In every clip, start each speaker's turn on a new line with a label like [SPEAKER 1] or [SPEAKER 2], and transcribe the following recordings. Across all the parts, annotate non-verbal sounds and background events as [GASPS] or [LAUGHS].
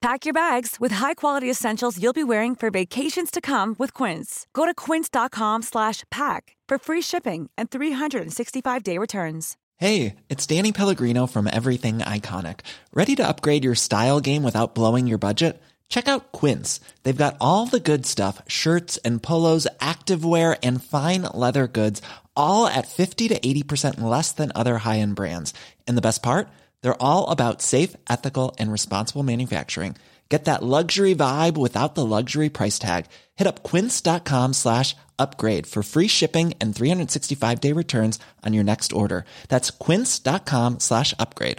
[SPEAKER 1] Pack your bags with high-quality essentials you'll be wearing for vacations to come with Quince. Go to quince.com/pack for free shipping and 365-day returns.
[SPEAKER 2] Hey, it's Danny Pellegrino from Everything Iconic. Ready to upgrade your style game without blowing your budget? Check out Quince. They've got all the good stuff, shirts and polos, activewear and fine leather goods, all at 50 to 80% less than other high-end brands. And the best part? They're all about safe, ethical, and responsible manufacturing. Get that luxury vibe without the luxury price tag. Hit up quince.com slash upgrade for free shipping and 365-day returns on your next order. That's quince.com slash upgrade.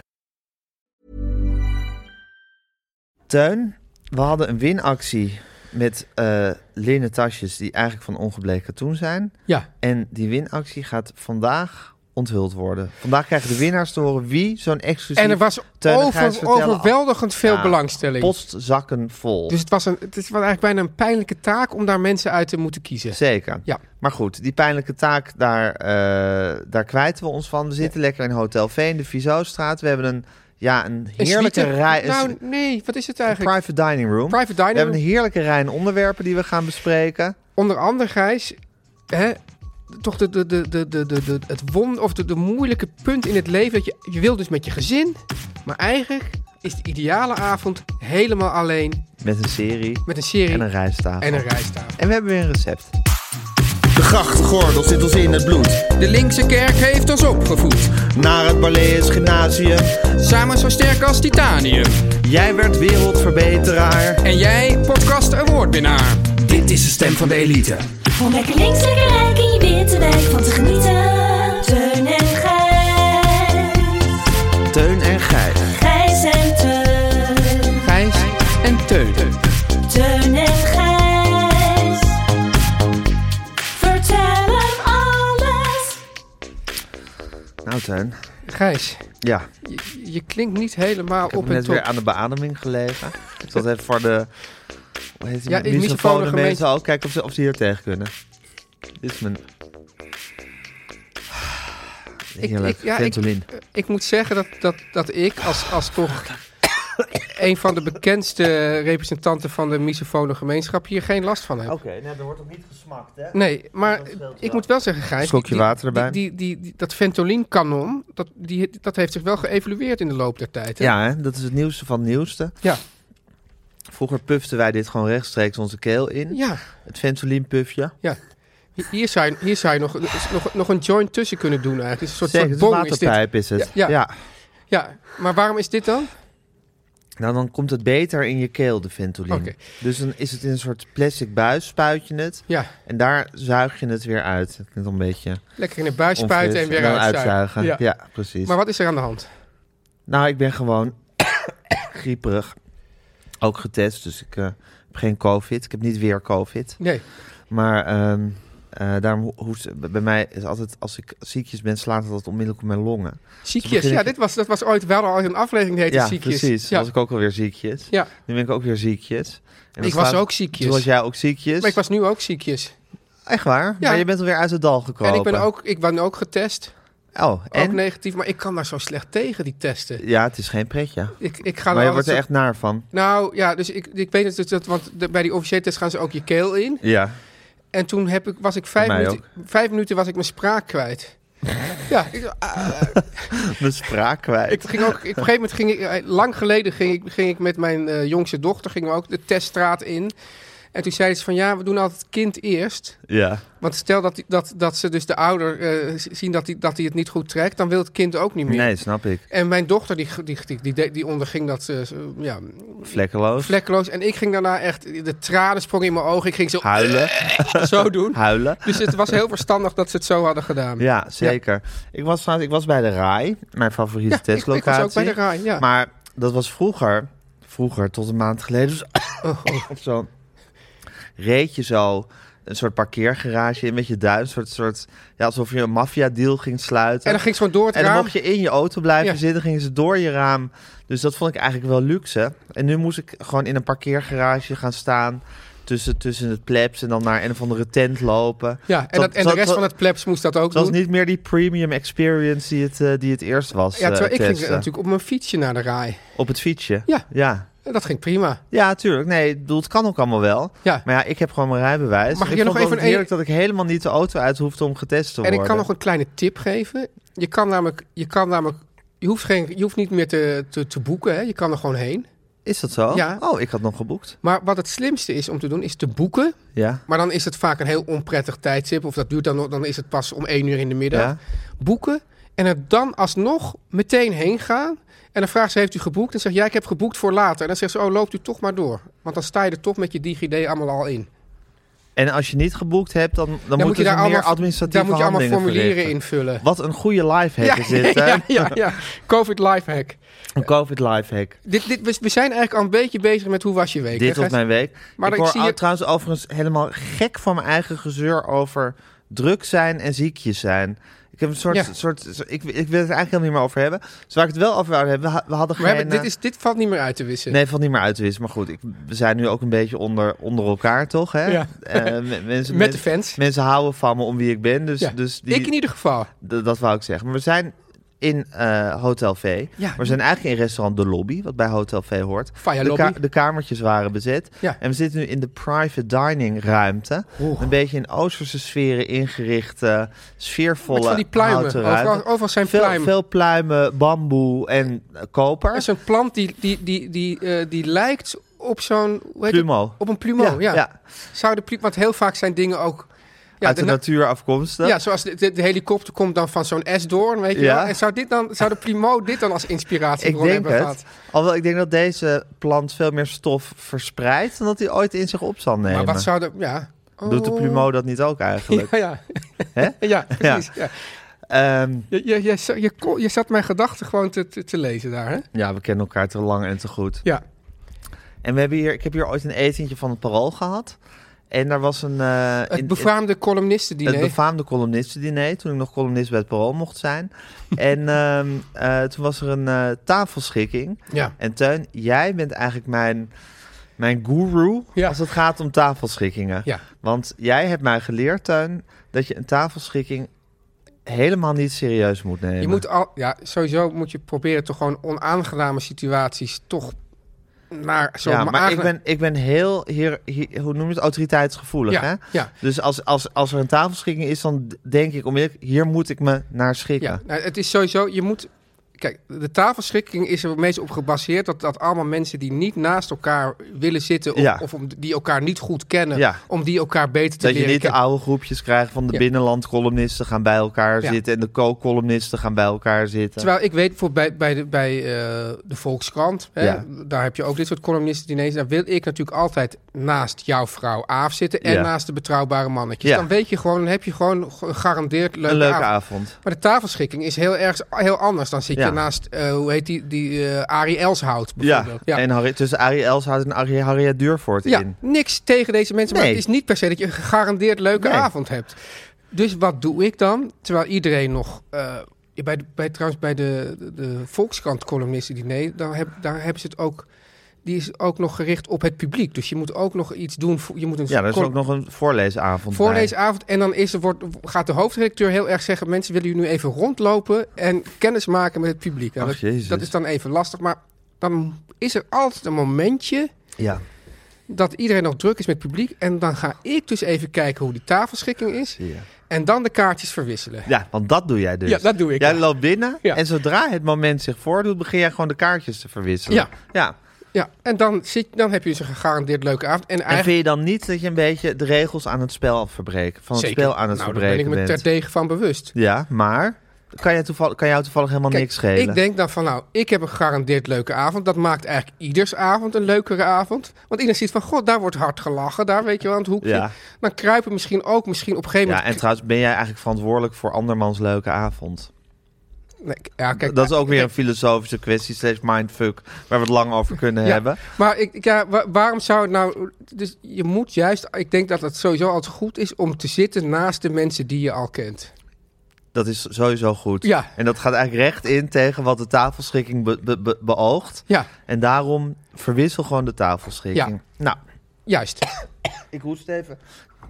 [SPEAKER 3] Tuin, we hadden een winactie met eh linnen tasjes die eigenlijk van ongebleekt katoen zijn.
[SPEAKER 4] Ja,
[SPEAKER 3] En die winactie gaat vandaag onthuld worden. Vandaag krijgen de winnaars te horen wie zo'n exclusief...
[SPEAKER 4] en er was
[SPEAKER 3] Teun, dan ga je
[SPEAKER 4] over-
[SPEAKER 3] eens vertellen.
[SPEAKER 4] overweldigend veel
[SPEAKER 3] Ja,
[SPEAKER 4] belangstelling.
[SPEAKER 3] Postzakken vol.
[SPEAKER 4] Dus het was, een, het is wel eigenlijk bijna een pijnlijke taak om daar mensen uit te moeten kiezen.
[SPEAKER 3] Zeker.
[SPEAKER 4] Ja.
[SPEAKER 3] Maar goed, die pijnlijke taak, daar, eh daar kwijten we ons van. We zitten lekker in Hotel V in de Vizostraat. We hebben een, ja, een
[SPEAKER 4] Een
[SPEAKER 3] heerlijke
[SPEAKER 4] suite-
[SPEAKER 3] rij... een
[SPEAKER 4] Nou,
[SPEAKER 3] su-
[SPEAKER 4] nee, wat is het
[SPEAKER 3] een
[SPEAKER 4] eigenlijk?
[SPEAKER 3] private dining room.
[SPEAKER 4] Private dining
[SPEAKER 3] We hebben een
[SPEAKER 4] room.
[SPEAKER 3] heerlijke rij aan onderwerpen die we gaan bespreken.
[SPEAKER 4] Onder andere, Gijs, hè, toch de, de, de, de, de, de, de- het won, of de, de moeilijke punt in het leven. Dat je, je wil dus met je gezin, maar eigenlijk is de ideale avond helemaal alleen
[SPEAKER 3] Met een serie
[SPEAKER 4] met een serie
[SPEAKER 3] en
[SPEAKER 4] en
[SPEAKER 3] een
[SPEAKER 4] een,
[SPEAKER 3] rijsttafel.
[SPEAKER 4] rijsttafel.
[SPEAKER 3] En we hebben weer een recept.
[SPEAKER 5] De grachtgordel zit ons in het bloed.
[SPEAKER 6] De linkse kerk heeft ons opgevoed.
[SPEAKER 5] Naar het Barlees Gymnasium.
[SPEAKER 6] Samen zo sterk als titanium.
[SPEAKER 5] Jij werd wereldverbeteraar.
[SPEAKER 6] En jij, podcast awardwinnaar. Dit is de stem van de elite.
[SPEAKER 7] Om lekker links, lekker rijk in je witte wijk van te genieten. Teun en Gijs.
[SPEAKER 5] Teun en Gijs.
[SPEAKER 7] Gijs en Teun.
[SPEAKER 6] Gijs en Teun.
[SPEAKER 7] Teun en Gijs. Vertel hem alles.
[SPEAKER 3] Nou, Teun.
[SPEAKER 4] Gijs,
[SPEAKER 3] Ja, ik
[SPEAKER 4] je, je klinkt niet helemaal
[SPEAKER 3] heb
[SPEAKER 4] op
[SPEAKER 3] net
[SPEAKER 4] het top.
[SPEAKER 3] weer aan de beademing gelegen. Ik zat even voor de... Hoe heet die?
[SPEAKER 4] Ja,
[SPEAKER 3] Ja,
[SPEAKER 4] in microfoon gemeen-
[SPEAKER 3] mensen ook. Kijken Oh, of ze, of ze hier tegen kunnen. Dit is mijn... Heerlijk.
[SPEAKER 4] ik- ja, ik-
[SPEAKER 3] Ventolin.
[SPEAKER 4] Ik moet zeggen dat, dat, dat ik als, als toch een van de bekendste representanten van de misofone gemeenschap hier geen last van heb.
[SPEAKER 3] nou, er wordt ook niet gesmakt, hè?
[SPEAKER 4] Nee, maar
[SPEAKER 3] scheelt
[SPEAKER 4] ik
[SPEAKER 3] wel.
[SPEAKER 4] moet wel zeggen, Gijs...
[SPEAKER 3] Slokje
[SPEAKER 4] die-
[SPEAKER 3] water erbij.
[SPEAKER 4] Die, die, die- dat Ventolin-kanon, dat, die, dat heeft zich wel geëvalueerd in de loop der tijd. hè?
[SPEAKER 3] Ja, hè? dat is het nieuwste van het nieuwste.
[SPEAKER 4] Ja.
[SPEAKER 3] Vroeger puften wij dit gewoon rechtstreeks onze keel in.
[SPEAKER 4] Ja,
[SPEAKER 3] Het Ventolinpufje.
[SPEAKER 4] ja. Hi- Hier zou je, hier zou je nog, nog, nog een joint tussen kunnen doen eigenlijk. Een soort,
[SPEAKER 3] Zeker, het
[SPEAKER 4] soort
[SPEAKER 3] is een
[SPEAKER 4] bong is dit.
[SPEAKER 3] waterpijp is het.
[SPEAKER 4] Ja, ja.
[SPEAKER 3] ja.
[SPEAKER 4] Ja, maar waarom is dit dan?
[SPEAKER 3] Nou, dan komt het beter in je keel, de Ventoline.
[SPEAKER 4] Oké.
[SPEAKER 3] Dus dan is het in een soort plastic buis, spuit je het.
[SPEAKER 4] Ja,
[SPEAKER 3] En daar zuig je het weer uit. Het klinkt een beetje
[SPEAKER 4] lekker in een buis spuiten
[SPEAKER 3] onfris.
[SPEAKER 4] en weer
[SPEAKER 3] dan
[SPEAKER 4] uitzuigen.
[SPEAKER 3] Ja,
[SPEAKER 4] Ja.
[SPEAKER 3] precies.
[SPEAKER 4] Maar wat is er aan de hand?
[SPEAKER 3] Nou, ik ben gewoon [COUGHS] grieperig. Ook getest, dus ik eh, heb geen covid. Ik heb niet weer covid.
[SPEAKER 4] Nee,
[SPEAKER 3] Maar ehm, eh, daarom ho- hoest... Bij mij is altijd, als ik ziekjes ben, slaat het altijd onmiddellijk op mijn longen.
[SPEAKER 4] ziekjes.
[SPEAKER 3] begin ik-
[SPEAKER 4] Ja, dit was, dat was ooit wel al een aflevering die heette
[SPEAKER 3] ja,
[SPEAKER 4] ziekjes.
[SPEAKER 3] precies.
[SPEAKER 4] Ja,
[SPEAKER 3] was ik Dus- ook alweer ziekjes.
[SPEAKER 4] Ja.
[SPEAKER 3] Nu ben ik ook weer ziekjes. En dan
[SPEAKER 4] ik was
[SPEAKER 3] slaat-
[SPEAKER 4] ook ziekjes.
[SPEAKER 3] Toen was jij ook ziekjes.
[SPEAKER 4] Maar ik was nu ook ziekjes.
[SPEAKER 3] Echt waar?
[SPEAKER 4] Ja.
[SPEAKER 3] Maar je bent alweer uit het dal gekomen.
[SPEAKER 4] En ik ben, ook, ik ben ook getest.
[SPEAKER 3] Oh, en?
[SPEAKER 4] Ook negatief, maar ik kan daar zo slecht tegen, die testen.
[SPEAKER 3] Ja, het is geen pretje.
[SPEAKER 4] Ik, ik ga
[SPEAKER 3] Maar je
[SPEAKER 4] dan
[SPEAKER 3] wordt er
[SPEAKER 4] altijd
[SPEAKER 3] echt naar van.
[SPEAKER 4] zo- Nou ja, dus ik, ik weet het, dus dat, want de- bij die officiële test gaan ze ook je keel in.
[SPEAKER 3] Ja. [LAUGHS]
[SPEAKER 4] En toen heb ik, was ik vijf
[SPEAKER 3] Mij
[SPEAKER 4] minuten, vijf minuten was ik mijn spraak
[SPEAKER 3] [LAUGHS]
[SPEAKER 4] kwijt. ja, ik, ah,
[SPEAKER 3] Mijn spraak kwijt.
[SPEAKER 4] ik ging ook, ik, op een gegeven moment ging ik, eh, lang geleden ging ik, ging ik met mijn eh, jongste dochter, gingen we ook de teststraat in. En toen zeiden ze van ja, we doen altijd kind eerst.
[SPEAKER 3] Ja.
[SPEAKER 4] Want stel dat, die- dat, dat ze dus de ouder eh, z- zien dat hij dat die het niet goed trekt, dan wil het kind ook niet meer.
[SPEAKER 3] Nee, snap ik.
[SPEAKER 4] En mijn dochter, die, die, die, die, de- die onderging dat eh, zo, ja,
[SPEAKER 3] Vlekkeloos.
[SPEAKER 4] vlekkeloos. En ik ging daarna echt, de tranen sprongen in mijn ogen. Ik ging zo,
[SPEAKER 3] Huilen.
[SPEAKER 4] [LAUGHS] zo doen.
[SPEAKER 3] Huilen.
[SPEAKER 4] Dus het was heel verstandig dat ze het zo hadden gedaan.
[SPEAKER 3] Ja, zeker. Ik, was, trouwens- ik was bij de RAI, mijn favoriete
[SPEAKER 4] ik, ik
[SPEAKER 3] testlocatie.
[SPEAKER 4] was ook bij de raai. Ja.
[SPEAKER 3] Maar dat was vroeger, [COUGHS] vroeger tot een maand geleden, dus
[SPEAKER 4] Oh, oh.
[SPEAKER 3] of zo, reed je zo een soort parkeergarage in met je duim. Een soort, soort, ja, alsof je een maffia-deal ging sluiten.
[SPEAKER 4] En dan ging ze gewoon door het
[SPEAKER 3] En dan
[SPEAKER 4] raam.
[SPEAKER 3] mocht je in je auto blijven
[SPEAKER 4] Ja.
[SPEAKER 3] zitten, gingen ze door je raam. Dus dat vond ik eigenlijk wel luxe. En nu moest ik gewoon in een parkeergarage gaan staan. Tussen, tussen het plebs en dan naar een of andere tent lopen.
[SPEAKER 4] Ja,
[SPEAKER 3] Terwijl-
[SPEAKER 4] en, dat, en de
[SPEAKER 3] terwijl-
[SPEAKER 4] rest van het plebs moest dat ook
[SPEAKER 3] Het was
[SPEAKER 4] doen.
[SPEAKER 3] niet meer die premium experience die het, eh, die het eerst was.
[SPEAKER 4] Ja, terwijl
[SPEAKER 3] eh,
[SPEAKER 4] ik ging
[SPEAKER 3] testen.
[SPEAKER 4] natuurlijk op mijn fietsje naar de rij.
[SPEAKER 3] Op het fietsje.
[SPEAKER 4] Ja.
[SPEAKER 3] Ja,
[SPEAKER 4] En dat ging prima.
[SPEAKER 3] ja tuurlijk. Nee, ik bedoel, het kan ook allemaal wel.
[SPEAKER 4] Ja.
[SPEAKER 3] Maar ja, ik heb gewoon mijn rijbewijs.
[SPEAKER 4] Mag ik
[SPEAKER 3] ik
[SPEAKER 4] je
[SPEAKER 3] vond
[SPEAKER 4] nog
[SPEAKER 3] het
[SPEAKER 4] even
[SPEAKER 3] ook heerlijk dat ik helemaal niet de auto uit hoefde om getest te
[SPEAKER 4] En
[SPEAKER 3] worden.
[SPEAKER 4] ik kan nog een kleine tip geven. Je kan namelijk, je kan namelijk, je hoeft, geen, je hoeft niet meer te, te, te boeken, hè. je kan er gewoon heen.
[SPEAKER 3] Is dat zo?
[SPEAKER 4] Ja.
[SPEAKER 3] Oh, ik had nog geboekt.
[SPEAKER 4] Maar wat het slimste is om te doen, is te boeken.
[SPEAKER 3] Ja.
[SPEAKER 4] Maar dan is het vaak een heel onprettig tijdstip. Of dat duurt dan, nog- dan is het pas om één uur in de middag.
[SPEAKER 3] Ja.
[SPEAKER 4] Boeken. En er dan alsnog meteen heen gaan. En dan vraagt ze, heeft u geboekt? En zegt, ja, ik heb geboekt voor later. En dan zegt ze, oh, loopt u toch maar door. Want dan sta je er toch met je DigiD allemaal al in.
[SPEAKER 3] En als je niet geboekt hebt, dan, dan, moet, je daar meer administratieve
[SPEAKER 4] daar moet je allemaal
[SPEAKER 3] handelingen
[SPEAKER 4] formulieren
[SPEAKER 3] verrichten.
[SPEAKER 4] invullen.
[SPEAKER 3] Wat een goede lifehack is dit, hè?
[SPEAKER 4] ja, [LAUGHS] ja, ja. Covid lifehack.
[SPEAKER 3] Een covid lifehack.
[SPEAKER 4] Dit, dit, we, we zijn eigenlijk al een beetje bezig met hoe was je week.
[SPEAKER 3] Dit
[SPEAKER 4] hè,
[SPEAKER 3] was
[SPEAKER 4] Gijs?
[SPEAKER 3] mijn week.
[SPEAKER 4] Maar
[SPEAKER 3] ik
[SPEAKER 4] ik
[SPEAKER 3] hoor
[SPEAKER 4] zie
[SPEAKER 3] al-
[SPEAKER 4] het-
[SPEAKER 3] trouwens overigens helemaal gek van mijn eigen gezeur over druk zijn en ziekjes zijn. Ik heb een soort,
[SPEAKER 4] Ja.
[SPEAKER 3] soort zo- ik, ik wil het eigenlijk helemaal niet meer over hebben. Dus waar ik het wel over wou hebben, we, ha- we hadden
[SPEAKER 4] We
[SPEAKER 3] geen...
[SPEAKER 4] hebben, dit,
[SPEAKER 3] eh,
[SPEAKER 4] is, dit valt niet meer uit te wissen.
[SPEAKER 3] Nee, valt niet meer uit te wissen. Maar goed, ik, we zijn nu ook een beetje onder, onder elkaar, toch? Hè?
[SPEAKER 4] Ja.
[SPEAKER 3] Eh, me- mensen,
[SPEAKER 4] [LAUGHS]
[SPEAKER 3] men-
[SPEAKER 4] Met de fans.
[SPEAKER 3] Mensen houden van me om wie ik ben. Dus,
[SPEAKER 4] Ja.
[SPEAKER 3] dus die,
[SPEAKER 4] Ik in ieder geval.
[SPEAKER 3] D- dat wou ik zeggen. Maar we zijn in eh, Hotel V.
[SPEAKER 4] Ja.
[SPEAKER 3] Maar we zijn eigenlijk in restaurant De Lobby, wat bij Hotel V hoort.
[SPEAKER 4] Fire
[SPEAKER 3] de,
[SPEAKER 4] Lobby.
[SPEAKER 3] de kamertjes waren bezet.
[SPEAKER 4] Ja.
[SPEAKER 3] En we zitten nu in de private dining ruimte.
[SPEAKER 4] Oeh.
[SPEAKER 3] Een beetje in Oosterse sferen ingericht, eh, sfeervolle
[SPEAKER 4] Met van die pluimen.
[SPEAKER 3] houten
[SPEAKER 4] Overal-
[SPEAKER 3] ruimte.
[SPEAKER 4] overal zijn
[SPEAKER 3] veel,
[SPEAKER 4] pluimen.
[SPEAKER 3] Veel pluimen, bamboe en eh, koper.
[SPEAKER 4] Er is een plant die, die, die, die, eh, die lijkt op zo'n... hoe heet het?
[SPEAKER 3] Plumo.
[SPEAKER 4] Op een plumo, ja.
[SPEAKER 3] ja.
[SPEAKER 4] Zou de plu- want heel vaak zijn dingen ook... Ja,
[SPEAKER 3] Uit de,
[SPEAKER 4] na-
[SPEAKER 3] natuur afkomstig.
[SPEAKER 4] ja, zoals de, de- de helikopter komt dan van zo'n S-doorn, weet je
[SPEAKER 3] Ja.
[SPEAKER 4] wel. En zou, dit dan, zou de primo dit dan als inspiratie
[SPEAKER 3] Ik denk
[SPEAKER 4] hebben
[SPEAKER 3] het.
[SPEAKER 4] gehad?
[SPEAKER 3] Alhoewel, ik denk dat deze plant veel meer stof verspreidt dan dat hij ooit in zich op zal nemen.
[SPEAKER 4] Maar wat zou de... Ja.
[SPEAKER 3] Doet de
[SPEAKER 4] Oh.
[SPEAKER 3] plumo dat niet ook eigenlijk?
[SPEAKER 4] Ja, ja.
[SPEAKER 3] Hè?
[SPEAKER 4] [LAUGHS] ja precies. [LAUGHS] Ja.
[SPEAKER 3] Ehm,
[SPEAKER 4] Je, je, je, za- je, ko- je zat mijn gedachten gewoon te, te, te lezen daar, hè?
[SPEAKER 3] ja, we kennen elkaar te lang en te goed.
[SPEAKER 4] Ja.
[SPEAKER 3] En we hebben hier, ik heb hier ooit een etentje van het Parool gehad. En daar was een... eh, in-
[SPEAKER 4] Het befaamde columnistendiner.
[SPEAKER 3] het befaamde columnistendiner, toen ik nog columnist bij het Parool mocht
[SPEAKER 4] [LAUGHS]
[SPEAKER 3] zijn. en ehm, eh, toen was er een eh, tafelschikking.
[SPEAKER 4] Ja.
[SPEAKER 3] En Teun, jij bent eigenlijk mijn, mijn guru
[SPEAKER 4] Ja.
[SPEAKER 3] als het gaat om tafelschikkingen.
[SPEAKER 4] Ja.
[SPEAKER 3] Want jij hebt mij geleerd, Teun, dat je een tafelschikking helemaal niet serieus moet nemen.
[SPEAKER 4] Je moet al, ja, sowieso moet je proberen toch gewoon onaangename situaties toch naar zo'n
[SPEAKER 3] ja, maar
[SPEAKER 4] aange-
[SPEAKER 3] ik ben, ik ben heel, hier, hier- hoe noem je het, autoriteitsgevoelig.
[SPEAKER 4] Ja,
[SPEAKER 3] hè?
[SPEAKER 4] ja.
[SPEAKER 3] Dus als, als, als er een tafelschikking is, dan d- denk ik onmiddellijk, hier moet ik me naar schikken.
[SPEAKER 4] Ja, nou, het is sowieso, je moet... Kijk, de tafelschikking is er meest op gebaseerd dat, dat allemaal mensen die niet naast elkaar willen zitten... of,
[SPEAKER 3] Ja.
[SPEAKER 4] of om, die elkaar niet goed kennen,
[SPEAKER 3] Ja.
[SPEAKER 4] om die elkaar beter te
[SPEAKER 3] Dat je
[SPEAKER 4] leren
[SPEAKER 3] niet de
[SPEAKER 4] kennen.
[SPEAKER 3] oude groepjes krijgt van de
[SPEAKER 4] Ja.
[SPEAKER 3] binnenlandcolumnisten gaan bij elkaar
[SPEAKER 4] Ja.
[SPEAKER 3] zitten en de co-columnisten gaan bij elkaar zitten.
[SPEAKER 4] Terwijl ik weet bijvoorbeeld bij, bij, de, bij eh, de Volkskrant, hè,
[SPEAKER 3] Ja.
[SPEAKER 4] daar heb je ook dit soort columnisten diners. Daar wil ik natuurlijk altijd naast jouw vrouw Aaf zitten en
[SPEAKER 3] Ja.
[SPEAKER 4] naast de betrouwbare mannetjes.
[SPEAKER 3] Ja.
[SPEAKER 4] Dan weet je gewoon, dan heb je gewoon gegarandeerd leuke
[SPEAKER 3] een leuke
[SPEAKER 4] avond.
[SPEAKER 3] avond.
[SPEAKER 4] Maar de tafelschikking is heel erg heel anders. Dan zit
[SPEAKER 3] Ja.
[SPEAKER 4] je naast, eh, hoe heet die, die eh, Arie Elshout
[SPEAKER 3] Ja.
[SPEAKER 4] bijvoorbeeld. Ja,
[SPEAKER 3] en Harry, tussen Arie Elshout en Arie Harriet Duurvoort
[SPEAKER 4] Ja,
[SPEAKER 3] in.
[SPEAKER 4] niks tegen deze mensen, maar
[SPEAKER 3] Nee.
[SPEAKER 4] het is niet per se dat je een gegarandeerd leuke
[SPEAKER 3] Nee.
[SPEAKER 4] avond hebt. Dus wat doe ik dan? Terwijl iedereen nog... eh, bij de, bij, trouwens, bij de, de, de Volkskrant columnisten diner, daar, heb, daar hebben ze het ook... Die is ook nog gericht op het publiek. Dus je moet ook nog iets doen. voor- Je moet een
[SPEAKER 3] Ja, er is
[SPEAKER 4] col-
[SPEAKER 3] ook nog een voorleesavond bij.
[SPEAKER 4] voorleesavond. En dan is er, wordt, gaat de hoofdredacteur heel erg zeggen: mensen willen jullie nu even rondlopen en kennis maken met het publiek. Nou,
[SPEAKER 3] Ach,
[SPEAKER 4] dat,
[SPEAKER 3] Jezus.
[SPEAKER 4] dat is dan even lastig. Maar dan is er altijd een momentje
[SPEAKER 3] Ja.
[SPEAKER 4] dat iedereen nog druk is met het publiek. En dan ga ik dus even kijken hoe die tafelschikking is.
[SPEAKER 3] Ja.
[SPEAKER 4] En dan de kaartjes verwisselen.
[SPEAKER 3] ja, want dat doe jij dus.
[SPEAKER 4] Ja, dat doe ik,
[SPEAKER 3] Jij
[SPEAKER 4] ja.
[SPEAKER 3] loopt binnen
[SPEAKER 4] Ja.
[SPEAKER 3] en zodra het moment zich voordoet, begin jij gewoon de kaartjes te verwisselen.
[SPEAKER 4] Ja.
[SPEAKER 3] ja.
[SPEAKER 4] Ja, en dan, zit, dan heb je dus een gegarandeerd leuke avond. En
[SPEAKER 3] En
[SPEAKER 4] eigenlijk.
[SPEAKER 3] vind je dan niet dat je een beetje de regels aan het spel verbreken, van het
[SPEAKER 4] Zeker.
[SPEAKER 3] spel aan het
[SPEAKER 4] nou, daar ben ik
[SPEAKER 3] verbreken
[SPEAKER 4] me
[SPEAKER 3] bent?
[SPEAKER 4] terdege van bewust.
[SPEAKER 3] Ja, maar kan, jij toevallig, kan jou toevallig helemaal
[SPEAKER 4] Kijk,
[SPEAKER 3] niks schelen?
[SPEAKER 4] Ik denk dan van, nou, ik heb een gegarandeerd leuke avond. Dat maakt eigenlijk ieders avond een leukere avond. Want iedereen ziet van, god, daar wordt hard gelachen. Daar weet je wel, aan het hoekje.
[SPEAKER 3] Ja.
[SPEAKER 4] Dan kruipen misschien ook, misschien op een gegeven
[SPEAKER 3] ja,
[SPEAKER 4] moment...
[SPEAKER 3] en trouwens ben jij eigenlijk verantwoordelijk voor andermans leuke avond.
[SPEAKER 4] Nee, k- ja, kijk,
[SPEAKER 3] dat is ook weer
[SPEAKER 4] kijk,
[SPEAKER 3] een filosofische kwestie, slash mindfuck, waar we het lang over kunnen
[SPEAKER 4] [LAUGHS] Ja.
[SPEAKER 3] hebben.
[SPEAKER 4] Maar ik, ik- ja, wa- waarom zou het nou... Dus je moet juist... Ik denk dat het sowieso altijd goed is om te zitten naast de mensen die je al kent.
[SPEAKER 3] Dat is sowieso goed.
[SPEAKER 4] Ja.
[SPEAKER 3] En dat gaat eigenlijk recht in tegen wat de tafelschikking be- be- be- beoogt.
[SPEAKER 4] Ja,
[SPEAKER 3] En daarom verwissel gewoon de tafelschikking. Nou,
[SPEAKER 4] juist.
[SPEAKER 3] ik hoest even. [LAUGHS]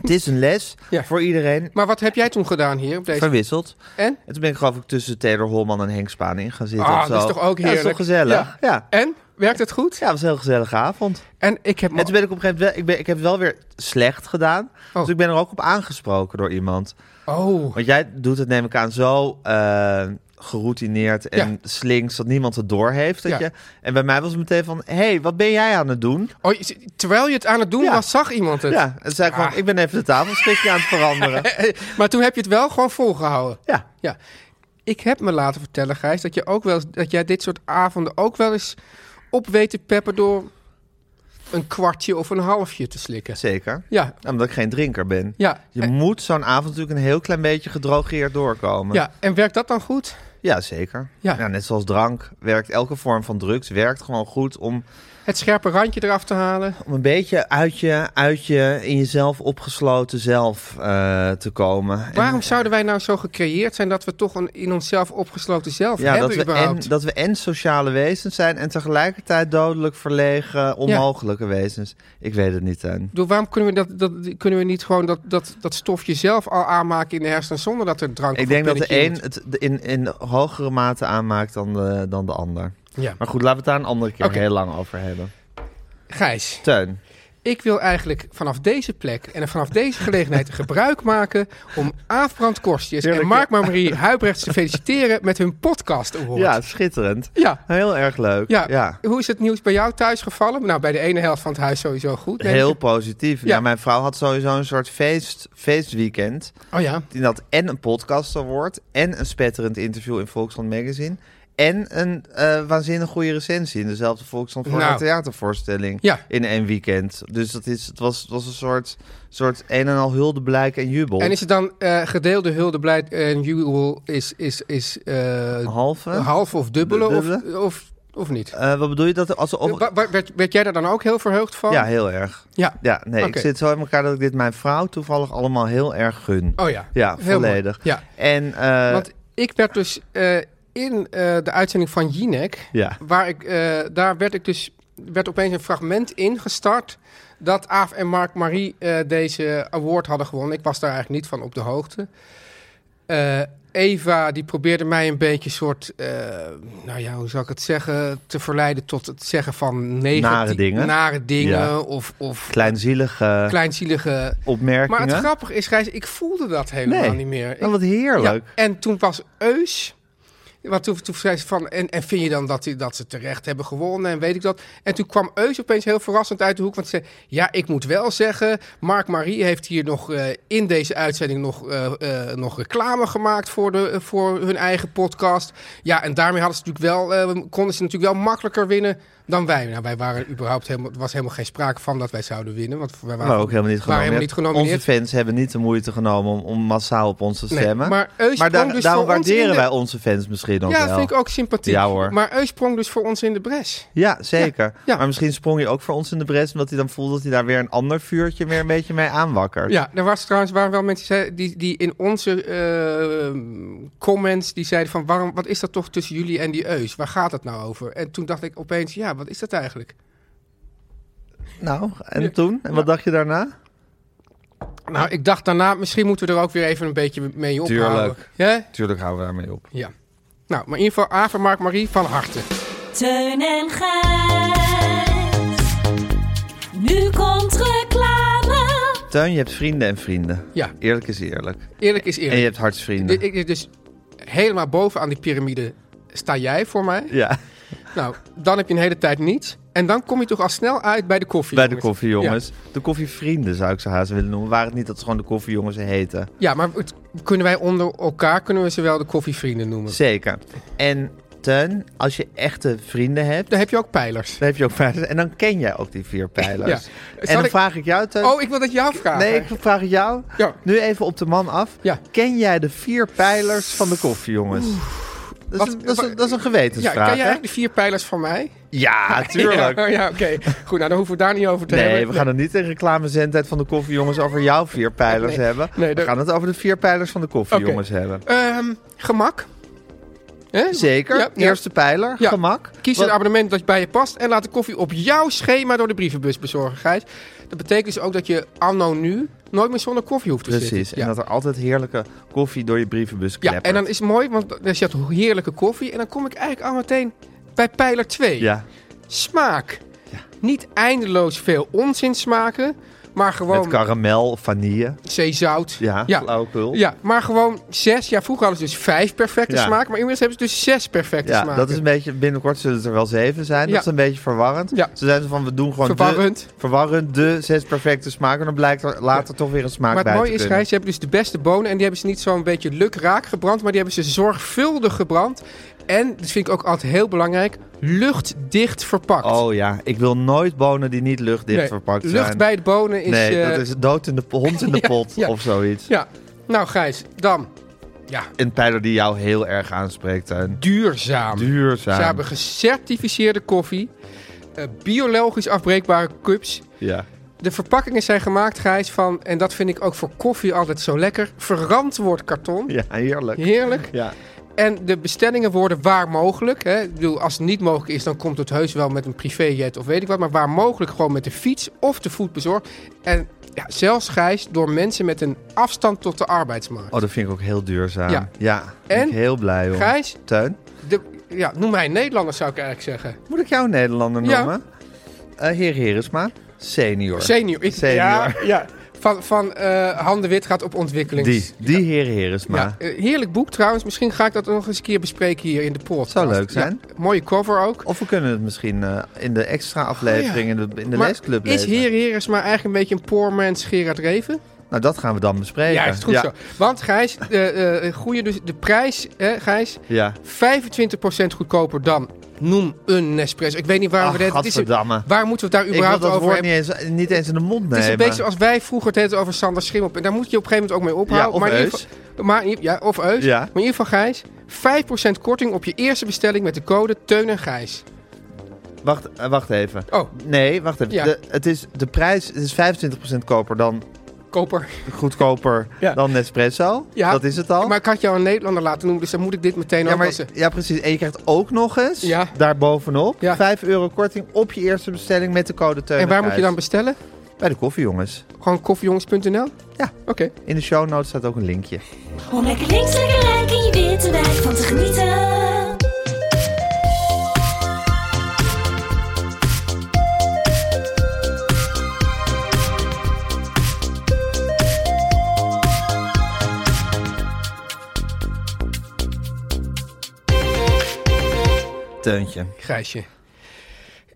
[SPEAKER 3] het is een les
[SPEAKER 4] Ja.
[SPEAKER 3] voor iedereen.
[SPEAKER 4] Maar wat heb jij toen gedaan hier op deze...
[SPEAKER 3] Verwisseld.
[SPEAKER 4] En?
[SPEAKER 3] En toen ben ik geloof ik tussen Taylor Holman en Henk Spaan in gaan zitten.
[SPEAKER 4] Ah,
[SPEAKER 3] of zo.
[SPEAKER 4] dat is toch ook
[SPEAKER 3] Ja, dat is toch
[SPEAKER 4] heerlijk?
[SPEAKER 3] gezellig? Ja. ja.
[SPEAKER 4] En? Werkt het goed?
[SPEAKER 3] het was een heel gezellige avond.
[SPEAKER 4] En ik heb...
[SPEAKER 3] En toen ben ik op een gegeven moment... wel- Ik, ben, ik heb het wel weer slecht gedaan. Dus ik ben er ook op aangesproken door iemand.
[SPEAKER 4] Oh,
[SPEAKER 3] Want jij doet het, neem ik aan, zo eh, geroutineerd en
[SPEAKER 4] Ja.
[SPEAKER 3] slinks dat niemand het door heeft. Dat
[SPEAKER 4] Ja.
[SPEAKER 3] je... En bij mij was het meteen van: hé, hey, wat ben jij aan het doen?
[SPEAKER 4] oh je zit- terwijl je het aan het doen
[SPEAKER 3] Ja.
[SPEAKER 4] was, zag iemand het.
[SPEAKER 3] Ja, en zei ik gewoon:
[SPEAKER 4] Ah.
[SPEAKER 3] ik ben even de tafelschikje aan het
[SPEAKER 4] [LAUGHS]
[SPEAKER 3] veranderen.
[SPEAKER 4] Maar toen heb je het wel gewoon volgehouden.
[SPEAKER 3] Ja.
[SPEAKER 4] Ja. Ik heb me laten vertellen, Gijs, dat, je ook wel, eens- dat jij dit soort avonden ook wel eens op weet te peppen door een kwartje of een halfje te slikken.
[SPEAKER 3] Zeker.
[SPEAKER 4] Ja,
[SPEAKER 3] Omdat ik geen drinker ben.
[SPEAKER 4] ja.
[SPEAKER 3] Je
[SPEAKER 4] En-
[SPEAKER 3] moet zo'n avond natuurlijk een heel klein beetje gedrogeerd doorkomen.
[SPEAKER 4] ja. En werkt dat dan goed?
[SPEAKER 3] Ja, zeker.
[SPEAKER 4] Ja.
[SPEAKER 3] net zoals drank werkt elke vorm van drugs werkt gewoon goed om,
[SPEAKER 4] Het scherpe randje eraf te halen?
[SPEAKER 3] om een beetje uit je, uit je in jezelf opgesloten zelf eh, te komen. En-
[SPEAKER 4] Waarom zouden wij nou zo gecreëerd zijn dat we toch een in onszelf opgesloten zelf
[SPEAKER 3] Ja,
[SPEAKER 4] hebben
[SPEAKER 3] dat we, en,
[SPEAKER 4] überhaupt?
[SPEAKER 3] dat we en sociale wezens zijn en tegelijkertijd dodelijk verlegen, onmogelijke wezens. Ik weet het niet, Tuin.
[SPEAKER 4] Doe, waarom kunnen we, dat, dat, kunnen we niet gewoon dat, dat, dat stofje zelf al aanmaken in de hersenen zonder dat er drank
[SPEAKER 3] Ik
[SPEAKER 4] of een
[SPEAKER 3] denk dat de
[SPEAKER 4] pilletje in
[SPEAKER 3] een het de- in, in hogere mate aanmaakt dan de, dan de ander.
[SPEAKER 4] moet? Ja.
[SPEAKER 3] Maar goed, laten we het daar een andere keer
[SPEAKER 4] Oké.
[SPEAKER 3] heel lang over hebben.
[SPEAKER 4] Gijs,
[SPEAKER 3] Teun,
[SPEAKER 4] Ik wil eigenlijk vanaf deze plek en vanaf
[SPEAKER 3] [LAUGHS]
[SPEAKER 4] deze gelegenheid gebruik maken om Aafbrand Korstjes en
[SPEAKER 3] Heerlijk,
[SPEAKER 4] Mark Marie Huibrechts te feliciteren met hun podcast award.
[SPEAKER 3] ja, schitterend.
[SPEAKER 4] ja.
[SPEAKER 3] Heel erg leuk.
[SPEAKER 4] Ja.
[SPEAKER 3] Ja,
[SPEAKER 4] Hoe is het nieuws bij jou thuis gevallen? Nou, bij de ene helft van het huis sowieso goed. denk
[SPEAKER 3] heel
[SPEAKER 4] ik.
[SPEAKER 3] positief.
[SPEAKER 4] Ja.
[SPEAKER 3] Ja. mijn vrouw had sowieso een soort feest, feestweekend.
[SPEAKER 4] Oh ja.
[SPEAKER 3] Die dat en een podcast award, en een spetterend interview in Volksland Magazine, en een eh, waanzinnig goede recensie in dezelfde Volksland voor
[SPEAKER 4] Nou.
[SPEAKER 3] een theatervoorstelling
[SPEAKER 4] Ja.
[SPEAKER 3] in één weekend. Dus dat is, het was, het was een soort, soort een en al huldeblijk en jubel.
[SPEAKER 4] En is het dan eh, gedeelde hulde blij en jubel is, is, is eh,
[SPEAKER 3] Halve?
[SPEAKER 4] half of dubbele,
[SPEAKER 3] Dubbele?
[SPEAKER 4] Of, of, of niet?
[SPEAKER 3] Eh, wat bedoel je dat? er- Als, of,
[SPEAKER 4] Wa- wa- werd, werd jij daar dan ook heel verheugd van?
[SPEAKER 3] ja, heel erg.
[SPEAKER 4] Ja.
[SPEAKER 3] Ja, nee,
[SPEAKER 4] Oké.
[SPEAKER 3] ik zit zo in elkaar dat ik dit mijn vrouw toevallig allemaal heel erg gun.
[SPEAKER 4] Oh ja.
[SPEAKER 3] Ja,
[SPEAKER 4] Heel mooi.
[SPEAKER 3] volledig.
[SPEAKER 4] Ja.
[SPEAKER 3] En eh,
[SPEAKER 4] Want ik werd dus eh, in eh, de uitzending van Jinek,
[SPEAKER 3] Ja.
[SPEAKER 4] waar ik, eh, daar werd ik dus werd opeens een fragment ingestart dat Aaf en Mark Marie eh, deze award hadden gewonnen. Ik was daar eigenlijk niet van op de hoogte. Eh, Eva die probeerde mij een beetje soort, eh, nou ja, hoe zou ik het zeggen, te verleiden tot het zeggen van negatieve
[SPEAKER 3] Nare dingen.
[SPEAKER 4] nare dingen
[SPEAKER 3] Ja.
[SPEAKER 4] of, of
[SPEAKER 3] kleinzielige
[SPEAKER 4] kleinzielige. Maar
[SPEAKER 3] opmerkingen.
[SPEAKER 4] het grappige is, Gijs, ik voelde dat helemaal
[SPEAKER 3] Nee.
[SPEAKER 4] niet meer.
[SPEAKER 3] Oh,
[SPEAKER 4] Ik-
[SPEAKER 3] wat heerlijk.
[SPEAKER 4] ja, en toen was Eus. Want toen, toen zei ze van. En, en vind je dan dat, die, dat ze terecht hebben gewonnen en weet ik dat. En toen kwam Eus opeens heel verrassend uit de hoek. Want ze zei: Ja, ik moet wel zeggen. Mark Marie heeft hier nog eh, in deze uitzending nog, eh, eh, nog reclame gemaakt voor, de, eh, voor hun eigen podcast. Ja, en daarmee hadden ze natuurlijk wel, eh, konden ze natuurlijk wel makkelijker winnen dan wij. Nou, wij waren überhaupt helemaal. Er was helemaal geen sprake van dat wij zouden winnen. Want wij waren,
[SPEAKER 3] Maar Nou, ook helemaal niet
[SPEAKER 4] waren
[SPEAKER 3] genomineerd.
[SPEAKER 4] helemaal niet genomineerd.
[SPEAKER 3] Onze fans hebben niet de moeite genomen om, om massaal op ons te
[SPEAKER 4] Nee,
[SPEAKER 3] stemmen.
[SPEAKER 4] maar Eus
[SPEAKER 3] daar-
[SPEAKER 4] sprong dus
[SPEAKER 3] daarom
[SPEAKER 4] voor ons in
[SPEAKER 3] waarderen
[SPEAKER 4] de-
[SPEAKER 3] wij onze fans misschien nog
[SPEAKER 4] Ja,
[SPEAKER 3] wel.
[SPEAKER 4] dat vind ik ook sympathiek.
[SPEAKER 3] Ja, hoor.
[SPEAKER 4] Maar Eus sprong dus voor ons in de bres.
[SPEAKER 3] Ja, zeker.
[SPEAKER 4] Ja, ja.
[SPEAKER 3] Maar misschien sprong je ook voor ons in de bres... omdat hij dan voelde dat hij daar weer een ander vuurtje weer een beetje mee aanwakkert.
[SPEAKER 4] Ja, er was trouwens, waren wel mensen die zei- die, die in onze eh, comments die zeiden van waarom, wat is dat toch tussen jullie en die Eus? Waar gaat het nou over? En toen dacht ik opeens, ja, wat is dat eigenlijk?
[SPEAKER 3] Nou, en toen? En wat dacht je daarna?
[SPEAKER 4] Nou, ik dacht daarna, misschien moeten we er ook weer even een beetje mee ophouden.
[SPEAKER 3] Tuurlijk.
[SPEAKER 4] Ja?
[SPEAKER 3] Tuurlijk houden we daarmee op.
[SPEAKER 4] Ja. Nou, maar in ieder geval, Aver Mark Marie van harte.
[SPEAKER 7] Teun en Gijs. Nu komt reclame.
[SPEAKER 3] Teun, je hebt vrienden en vrienden.
[SPEAKER 4] Ja.
[SPEAKER 3] Eerlijk is eerlijk.
[SPEAKER 4] Eerlijk is
[SPEAKER 3] En je
[SPEAKER 4] eerlijk.
[SPEAKER 3] hebt hartsvrienden.
[SPEAKER 4] Dus, ik, dus helemaal bovenaan die piramide sta jij voor mij.
[SPEAKER 3] Ja,
[SPEAKER 4] Nou, dan heb je een hele tijd niets. En dan kom je toch al snel uit bij de koffie.
[SPEAKER 3] bij de
[SPEAKER 4] jongens.
[SPEAKER 3] koffiejongens.
[SPEAKER 4] Ja.
[SPEAKER 3] De koffievrienden zou ik ze haast willen noemen. Waar het niet dat ze gewoon de koffiejongens heten.
[SPEAKER 4] Ja, maar het- kunnen wij onder elkaar kunnen we ze wel de koffievrienden noemen?
[SPEAKER 3] Zeker. En Teun, als je echte vrienden hebt,
[SPEAKER 4] Daar heb je ook pijlers.
[SPEAKER 3] dan heb je ook pijlers. En dan ken jij ook die
[SPEAKER 4] [LAUGHS]
[SPEAKER 3] vier
[SPEAKER 4] Ja.
[SPEAKER 3] pijlers. En
[SPEAKER 4] Zal
[SPEAKER 3] dan
[SPEAKER 4] ik-
[SPEAKER 3] vraag ik jou, Teun.
[SPEAKER 4] Oh, ik wil dat jou vragen.
[SPEAKER 3] Eh, Nee, ik vraag het jou.
[SPEAKER 4] Ja.
[SPEAKER 3] Nu even op de man af.
[SPEAKER 4] Ja.
[SPEAKER 3] Ken jij de vier pijlers van de koffie, jongens? Dat is,
[SPEAKER 4] Wat-
[SPEAKER 3] een, dat, is
[SPEAKER 4] wat-
[SPEAKER 3] een, dat is een
[SPEAKER 4] Ja,
[SPEAKER 3] gewetensvraag.
[SPEAKER 4] kan jij
[SPEAKER 3] hè?
[SPEAKER 4] eigenlijk de vier pijlers van mij?
[SPEAKER 3] Ja, tuurlijk.
[SPEAKER 4] Ja, ja, oké. Goed, nou dan hoeven we daar niet over te hebben.
[SPEAKER 3] Nee, we gaan het niet in reclamezendheid van de koffiejongens over jouw vier pijlers
[SPEAKER 4] Nee.
[SPEAKER 3] hebben.
[SPEAKER 4] Nee,
[SPEAKER 3] we
[SPEAKER 4] dat-
[SPEAKER 3] gaan het over de vier pijlers van de koffiejongens hebben.
[SPEAKER 4] Ehm, gemak. Hè?
[SPEAKER 3] Zeker.
[SPEAKER 4] Ja, ja.
[SPEAKER 3] Eerste pijler,
[SPEAKER 4] Ja.
[SPEAKER 3] gemak.
[SPEAKER 4] Kies
[SPEAKER 3] Wat-
[SPEAKER 4] een abonnement dat bij je past en laat de koffie op jouw schema door de brievenbus bezorgen, Gijs. Dat betekent dus ook dat je anno nu nooit meer zonder koffie hoeft te
[SPEAKER 3] Precies.
[SPEAKER 4] zitten.
[SPEAKER 3] En dat er altijd heerlijke koffie door je brievenbus
[SPEAKER 4] Ja,
[SPEAKER 3] kleppert.
[SPEAKER 4] en dan is het mooi, want dan zit heerlijke koffie. En dan kom ik eigenlijk al meteen bij pijler 2.
[SPEAKER 3] Ja,
[SPEAKER 4] Smaak. Niet eindeloos veel onzin smaken, maar
[SPEAKER 3] met
[SPEAKER 4] gewoon
[SPEAKER 3] karamel of vanille.
[SPEAKER 4] zeezout.
[SPEAKER 3] Ja,
[SPEAKER 4] ja.
[SPEAKER 3] flauwekul.
[SPEAKER 4] Ja, maar gewoon zes. Ja, vroeger hadden ze dus vijf perfecte
[SPEAKER 3] Ja.
[SPEAKER 4] smaken, maar inmiddels hebben ze dus zes perfecte
[SPEAKER 3] Ja,
[SPEAKER 4] smaken.
[SPEAKER 3] dat is een beetje, binnenkort zullen het er wel zeven zijn. Dat
[SPEAKER 4] Ja.
[SPEAKER 3] is een beetje verwarrend.
[SPEAKER 4] Ja.
[SPEAKER 3] Ze zijn zo van, we doen gewoon
[SPEAKER 4] Verwarrend.
[SPEAKER 3] De, verwarrend, de zes perfecte smaken. Dan blijkt er later toch weer een smaak
[SPEAKER 4] Maar
[SPEAKER 3] bij
[SPEAKER 4] het mooie
[SPEAKER 3] te
[SPEAKER 4] is,
[SPEAKER 3] kunnen.
[SPEAKER 4] Gijs, ze hebben dus de beste bonen. En die hebben ze niet zo'n beetje lukraak gebrand. Maar die hebben ze zorgvuldig gebrand. En, dat vind ik ook altijd heel belangrijk, luchtdicht verpakt.
[SPEAKER 3] Oh ja, ik wil nooit bonen die niet luchtdicht
[SPEAKER 4] Nee,
[SPEAKER 3] verpakt zijn.
[SPEAKER 4] Lucht bij de bonen is...
[SPEAKER 3] Nee,
[SPEAKER 4] eh,
[SPEAKER 3] dat is dood in de hond in de
[SPEAKER 4] [LAUGHS] Ja,
[SPEAKER 3] pot
[SPEAKER 4] ja.
[SPEAKER 3] of zoiets.
[SPEAKER 4] Ja. Nou, Gijs, dan. Ja,
[SPEAKER 3] Een pijler die jou heel erg aanspreekt. Teun.
[SPEAKER 4] duurzaam. Ze
[SPEAKER 3] Duurzaam.
[SPEAKER 4] hebben gecertificeerde koffie. eh, biologisch afbreekbare cups.
[SPEAKER 3] Ja.
[SPEAKER 4] De verpakkingen zijn gemaakt, Gijs, van... En dat vind ik ook voor koffie altijd zo lekker. Verantwoord karton.
[SPEAKER 3] ja, heerlijk.
[SPEAKER 4] Heerlijk.
[SPEAKER 3] Ja.
[SPEAKER 4] En de bestellingen worden waar mogelijk. Hè? Ik bedoel, als het niet mogelijk is, dan komt het heus wel met een privéjet of weet ik wat. Maar waar mogelijk gewoon met de fiets of de voet bezorgd. En ja, zelfs Gijs door mensen met een afstand tot de arbeidsmarkt.
[SPEAKER 3] Oh, dat vind ik ook heel duurzaam. Ja,
[SPEAKER 4] Ja.
[SPEAKER 3] ja ben
[SPEAKER 4] En?
[SPEAKER 3] ik heel blij om.
[SPEAKER 4] Gijs?
[SPEAKER 3] Teun,
[SPEAKER 4] De, ja, noem mij een Nederlander zou ik eigenlijk zeggen.
[SPEAKER 3] moet ik jou Nederlander
[SPEAKER 4] Ja.
[SPEAKER 3] noemen? Eh heer Heresma, senior.
[SPEAKER 4] Senior. Ik-
[SPEAKER 3] Senior.
[SPEAKER 4] Ja, ja. Van, van eh Han de Wit gaat op ontwikkelings.
[SPEAKER 3] Die, die heer Heresma.
[SPEAKER 4] Ja, eh, heerlijk boek trouwens. Misschien ga ik dat nog eens een keer bespreken hier in de podcast.
[SPEAKER 3] Zou leuk zijn.
[SPEAKER 4] Ja, mooie cover ook.
[SPEAKER 3] Of we kunnen het misschien eh, in de extra aflevering in de, in de
[SPEAKER 4] Oh maar
[SPEAKER 3] leesclub
[SPEAKER 4] is
[SPEAKER 3] lezen.
[SPEAKER 4] Heer Heer is maar eigenlijk een beetje een poor man's Gerard Reven?
[SPEAKER 3] Nou, dat gaan we dan bespreken.
[SPEAKER 4] Ja, is het goed zo. Want Gijs, eh eh goeie dus de prijs, hè, Gijs,
[SPEAKER 3] Ja.
[SPEAKER 4] 25% goedkoper dan noem een Nespresso. Ik weet niet waarom
[SPEAKER 3] Ach,
[SPEAKER 4] we dit... het is-
[SPEAKER 3] gadverdamme.
[SPEAKER 4] Waar moeten we het daar
[SPEAKER 3] Ik wil
[SPEAKER 4] überhaupt
[SPEAKER 3] dat
[SPEAKER 4] over
[SPEAKER 3] woord
[SPEAKER 4] hebben?
[SPEAKER 3] niet eens, niet eens in de mond nemen.
[SPEAKER 4] Het is een beetje zoals wij vroeger het hadden over Sander Schim op. En daar moet je op een gegeven moment ook mee ophouden.
[SPEAKER 3] Ja, of
[SPEAKER 4] maar in
[SPEAKER 3] Eus.
[SPEAKER 4] ieder geval- maar in- ja, of Eus.
[SPEAKER 3] Ja.
[SPEAKER 4] Maar in ieder geval Gijs, 5% korting op je eerste bestelling met de code Teun en Gijs.
[SPEAKER 3] Wacht, eh, wacht even.
[SPEAKER 4] Oh,
[SPEAKER 3] Nee, wacht even.
[SPEAKER 4] Ja.
[SPEAKER 3] De, het is, de prijs het is 25% koper dan
[SPEAKER 4] koper.
[SPEAKER 3] goedkoper
[SPEAKER 4] Ja.
[SPEAKER 3] dan Nespresso.
[SPEAKER 4] Ja.
[SPEAKER 3] Dat is het al.
[SPEAKER 4] Maar ik had jou een Nederlander laten noemen, dus dan moet ik dit meteen
[SPEAKER 3] ja, maar,
[SPEAKER 4] aanpassen.
[SPEAKER 3] ja, precies. En je krijgt ook nog eens
[SPEAKER 4] Ja.
[SPEAKER 3] daarbovenop
[SPEAKER 4] Ja.
[SPEAKER 3] 5 euro korting op je eerste bestelling met de code Teun.
[SPEAKER 4] En waar moet je dan
[SPEAKER 3] Gijs.
[SPEAKER 4] bestellen?
[SPEAKER 3] Bij de koffie, jongens.
[SPEAKER 4] Gewoon koffiejongens.nl?
[SPEAKER 3] Ja.
[SPEAKER 4] Oké.
[SPEAKER 3] In de show notes staat ook een linkje.
[SPEAKER 7] Om lekker links, lekker rijk in je witte wijk van te genieten.
[SPEAKER 3] Teuntje.
[SPEAKER 4] Gijsje.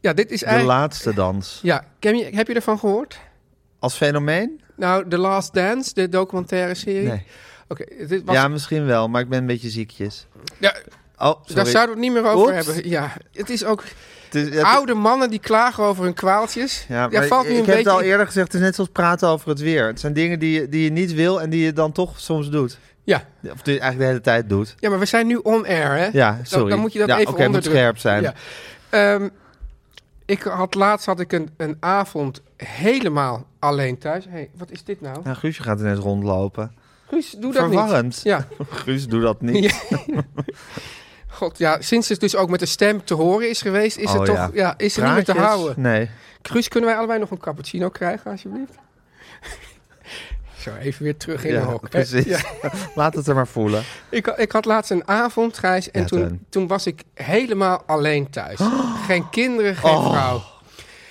[SPEAKER 4] Ja, dit is
[SPEAKER 3] De
[SPEAKER 4] eigenlijk...
[SPEAKER 3] laatste dans.
[SPEAKER 4] Ja, ken je, heb je ervan gehoord?
[SPEAKER 3] Als fenomeen?
[SPEAKER 4] Nou, The Last Dance, de documentaire serie.
[SPEAKER 3] Nee.
[SPEAKER 4] Oké, dit was...
[SPEAKER 3] Ja, misschien wel, maar ik ben een beetje ziekjes.
[SPEAKER 4] Ja,
[SPEAKER 3] Oh, sorry.
[SPEAKER 4] daar zouden we het niet meer over
[SPEAKER 3] Oeps.
[SPEAKER 4] hebben. Ja, het is ook
[SPEAKER 3] Het is- het-
[SPEAKER 4] oude mannen die klagen over hun kwaaltjes.
[SPEAKER 3] Ja,
[SPEAKER 4] Daar
[SPEAKER 3] maar
[SPEAKER 4] valt nu
[SPEAKER 3] ik
[SPEAKER 4] een
[SPEAKER 3] heb
[SPEAKER 4] beetje...
[SPEAKER 3] het al eerder gezegd, het is net zoals praten over het weer. Het zijn dingen die je, die je niet wil en die je dan toch soms doet.
[SPEAKER 4] ja.
[SPEAKER 3] Of die je eigenlijk de hele tijd doet.
[SPEAKER 4] ja, maar we zijn nu on-air, hè?
[SPEAKER 3] Ja, sorry.
[SPEAKER 4] Dan, dan moet je dat
[SPEAKER 3] ja,
[SPEAKER 4] even
[SPEAKER 3] oké, het moet
[SPEAKER 4] onderdrukken.
[SPEAKER 3] scherp zijn.
[SPEAKER 4] Ja. Ehm, ik had laatst had ik een, een avond helemaal alleen thuis. hey, wat is dit nou?
[SPEAKER 3] Ja, Guusje gaat ineens
[SPEAKER 4] [LAUGHS]
[SPEAKER 3] rondlopen.
[SPEAKER 4] Guus, doe dat
[SPEAKER 3] Verwarrend.
[SPEAKER 4] niet. Ja.
[SPEAKER 3] Guus, doe dat niet.
[SPEAKER 4] God, ja, sinds het dus ook met de stem te horen is geweest, is
[SPEAKER 3] Oh,
[SPEAKER 4] het toch,
[SPEAKER 3] ja.
[SPEAKER 4] ja, is het niet meer te
[SPEAKER 3] Praatjes?
[SPEAKER 4] houden.
[SPEAKER 3] Nee.
[SPEAKER 4] Kruis, kunnen wij allebei nog een cappuccino krijgen, alsjeblieft? [LAUGHS] Zo, even weer terug in
[SPEAKER 3] Ja,
[SPEAKER 4] de hok. hè?
[SPEAKER 3] precies.
[SPEAKER 4] Ja.
[SPEAKER 3] [LAUGHS] Laat het er maar voelen.
[SPEAKER 4] Ik, ha- ik had laatst een avond, Gijs, en
[SPEAKER 3] Ja, Teun.
[SPEAKER 4] toen, toen was ik helemaal
[SPEAKER 3] [GASPS]
[SPEAKER 4] alleen thuis. Geen kinderen, geen
[SPEAKER 3] Oh.
[SPEAKER 4] vrouw.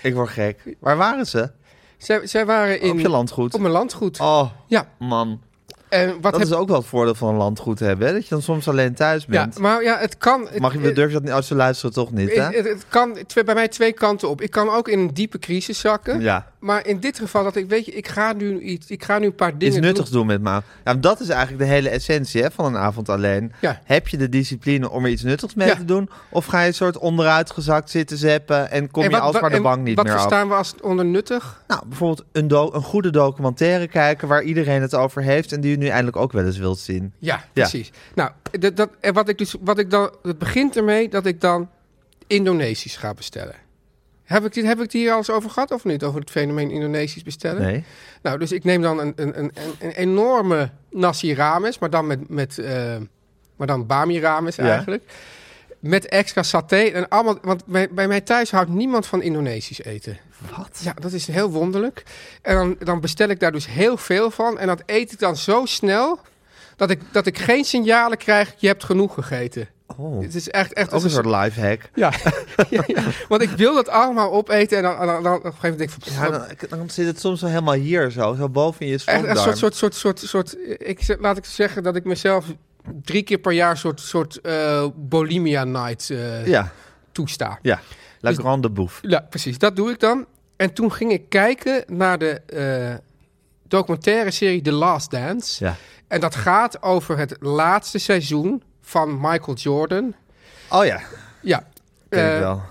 [SPEAKER 3] Ik word gek. Waar waren ze?
[SPEAKER 4] Zij, zij waren in...
[SPEAKER 3] Op je landgoed.
[SPEAKER 4] Op mijn landgoed.
[SPEAKER 3] Oh,
[SPEAKER 4] Ja,
[SPEAKER 3] man.
[SPEAKER 4] en wat
[SPEAKER 3] Dat
[SPEAKER 4] heb
[SPEAKER 3] is ook wel het voordeel van een landgoed hebben. Hè? Dat je dan soms alleen thuis
[SPEAKER 4] ja,
[SPEAKER 3] bent.
[SPEAKER 4] maar ja, het kan. het-
[SPEAKER 3] Mag je, we durven dat niet, als ze luisteren toch niet,
[SPEAKER 4] het,
[SPEAKER 3] hè?
[SPEAKER 4] het, het kan twee- bij mij twee kanten op. Ik kan ook in een diepe crisis zakken.
[SPEAKER 3] Ja.
[SPEAKER 4] maar in dit geval dat ik, weet je, ik ga nu, iets, ik ga nu een paar dingen
[SPEAKER 3] Iets nuttigs
[SPEAKER 4] doen.
[SPEAKER 3] doen met maat. Ja, maar dat is eigenlijk de hele essentie hè, van een avond alleen.
[SPEAKER 4] Ja.
[SPEAKER 3] Heb je de discipline om er iets nuttigs mee
[SPEAKER 4] Ja.
[SPEAKER 3] te doen? Of ga je een soort onderuitgezakt zitten zeppen en kom
[SPEAKER 4] En
[SPEAKER 3] je alsmaar de
[SPEAKER 4] en
[SPEAKER 3] bank niet
[SPEAKER 4] wat
[SPEAKER 3] meer af?
[SPEAKER 4] verstaan we als onder nuttig?
[SPEAKER 3] Nou, bijvoorbeeld een, do- een goede documentaire kijken waar iedereen het over heeft en die je nu eindelijk ook wel eens wilt zien.
[SPEAKER 4] Ja, precies. Nou, dat, dat, en wat ik dus, wat ik dan, het begint ermee dat ik dan Indonesisch ga bestellen. Heb ik, dit, heb ik het hier al eens over gehad of niet? Over het fenomeen Indonesisch bestellen?
[SPEAKER 3] Nee?
[SPEAKER 4] Nou, dus ik neem dan een, een, een, een- een enorme nasi rames, maar dan met, met eh, maar dan bami rames
[SPEAKER 3] Ja.
[SPEAKER 4] eigenlijk. Met extra saté en allemaal, want bij, bij mij thuis houdt niemand van Indonesisch eten. Wat? Ja, dat is heel wonderlijk. En dan, dan bestel ik daar dus heel veel van en dat eet ik dan zo snel dat ik, dat ik geen signalen krijg, je hebt genoeg gegeten.
[SPEAKER 3] Oh.
[SPEAKER 4] Het is echt, echt
[SPEAKER 3] Ook een soort live hack.
[SPEAKER 4] [LAUGHS] Ja. [LAUGHS] ja, ja. want ik wil dat allemaal opeten en dan, dan, dan, op een gegeven moment denk ik van...
[SPEAKER 3] Ja, dan, dan zit het soms wel helemaal hier zo, zo boven in je
[SPEAKER 4] Echt
[SPEAKER 3] slokdarm.
[SPEAKER 4] een soort, soort, soort, soort, soort ik, zeg- laat ik zeggen dat ik mezelf drie keer per jaar soort, soort eh, bulimia night eh,
[SPEAKER 3] Ja,
[SPEAKER 4] toesta.
[SPEAKER 3] ja. La
[SPEAKER 4] Dus-
[SPEAKER 3] grande bouffe.
[SPEAKER 4] Ja, precies. Dat doe ik dan. En toen ging ik kijken naar de eh, documentaire serie The Last Dance.
[SPEAKER 3] Ja.
[SPEAKER 4] En dat gaat over het laatste seizoen van Michael Jordan.
[SPEAKER 3] Oh ja,
[SPEAKER 4] Ja.
[SPEAKER 3] ken ik
[SPEAKER 4] eh,
[SPEAKER 3] wel.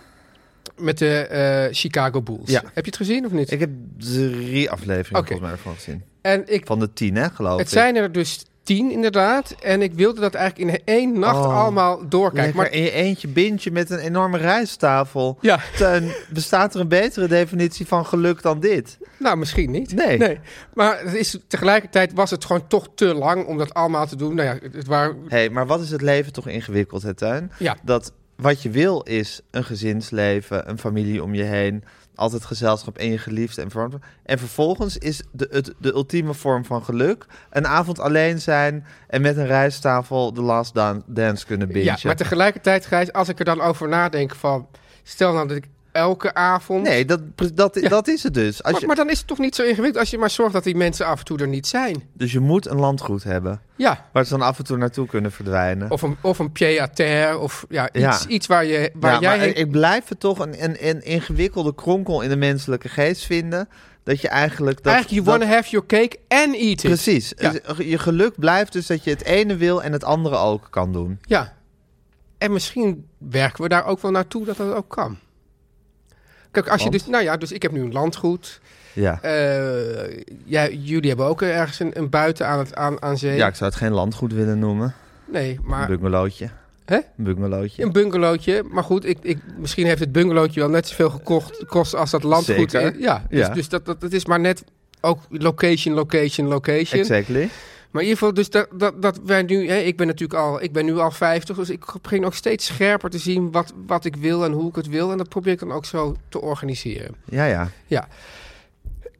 [SPEAKER 4] met de eh, Chicago Bulls.
[SPEAKER 3] Ja.
[SPEAKER 4] Heb je het gezien of niet?
[SPEAKER 3] Ik heb drie afleveringen
[SPEAKER 4] Oké.
[SPEAKER 3] volgens mij ervan gezien.
[SPEAKER 4] en ik
[SPEAKER 3] Van de tien, hè, geloof
[SPEAKER 4] Het
[SPEAKER 3] ik.
[SPEAKER 4] zijn er dus tien inderdaad. En ik wilde dat eigenlijk in één nacht
[SPEAKER 3] Oh,
[SPEAKER 4] allemaal doorkijken.
[SPEAKER 3] Lekker
[SPEAKER 4] Maar
[SPEAKER 3] in je eentje bindje met een enorme rijsttafel.
[SPEAKER 4] Ja.
[SPEAKER 3] Teun, bestaat er een betere definitie van geluk dan dit?
[SPEAKER 4] nou, misschien niet.
[SPEAKER 3] Nee.
[SPEAKER 4] Maar het is, tegelijkertijd was het gewoon toch te lang om dat allemaal te doen. Nou ja, het, het waren...
[SPEAKER 3] Hé, hey, maar wat is het leven toch ingewikkeld, hè, Tuin?
[SPEAKER 4] Ja.
[SPEAKER 3] Dat wat je wil is een gezinsleven, een familie om je heen, altijd gezelschap en je geliefde en verwant. En vervolgens is de, het, de ultieme vorm van geluk een avond alleen zijn en met een rijsttafel de last dan- dance kunnen bingen.
[SPEAKER 4] Ja, maar tegelijkertijd, Gijs, als ik er dan over nadenk van... Stel nou dat ik elke avond...
[SPEAKER 3] Nee, dat, dat, dat is het dus. Als
[SPEAKER 4] Maar,
[SPEAKER 3] je,
[SPEAKER 4] maar dan is het toch niet zo ingewikkeld als je maar zorgt dat die mensen af en toe er niet zijn.
[SPEAKER 3] Dus je moet een landgoed hebben.
[SPEAKER 4] Ja.
[SPEAKER 3] Waar ze dan af en toe naartoe kunnen verdwijnen.
[SPEAKER 4] Of een, of een pied à terre, of ja,
[SPEAKER 3] Ja.
[SPEAKER 4] iets, iets waar, je, waar
[SPEAKER 3] ja,
[SPEAKER 4] jij...
[SPEAKER 3] maar
[SPEAKER 4] heen-
[SPEAKER 3] ik, ik blijf het toch een, een, een ingewikkelde kronkel in de menselijke geest vinden. Dat je eigenlijk... Dat,
[SPEAKER 4] Eigenlijk, you wanna
[SPEAKER 3] dat-
[SPEAKER 4] have your cake and eat it.
[SPEAKER 3] Precies.
[SPEAKER 4] Ja.
[SPEAKER 3] Dus Je geluk blijft dus dat je het ene wil en het andere ook kan doen.
[SPEAKER 4] Ja. En misschien werken we daar ook wel naartoe dat dat ook kan. Kijk, als je
[SPEAKER 3] Want?
[SPEAKER 4] dus, nou ja, dus ik heb nu een landgoed.
[SPEAKER 3] Ja.
[SPEAKER 4] Eh, jij- jullie hebben ook ergens een, een buiten aan, het, aan, aan zee.
[SPEAKER 3] ja, ik zou het geen landgoed willen noemen.
[SPEAKER 4] nee,
[SPEAKER 3] Een
[SPEAKER 4] maar
[SPEAKER 3] bungalowtje.
[SPEAKER 4] Hè?
[SPEAKER 3] Een bungalowtje.
[SPEAKER 4] een bungalowtje. Maar goed, ik, ik, misschien heeft het bungalowtje wel net zoveel gekocht gekost als dat landgoed.
[SPEAKER 3] Zeker.
[SPEAKER 4] Eh, Ja, dus,
[SPEAKER 3] Ja.
[SPEAKER 4] dus dat, dat, dat is maar net ook location, location, location.
[SPEAKER 3] Exactly.
[SPEAKER 4] Maar in ieder geval, dus dat, dat, dat wij nu, hè, ik ben natuurlijk al, ik ben nu al 50, dus ik begin ook steeds scherper te zien wat, wat ik wil en hoe ik het wil. En dat probeer ik dan ook zo te organiseren.
[SPEAKER 3] Ja, ja.
[SPEAKER 4] Ja.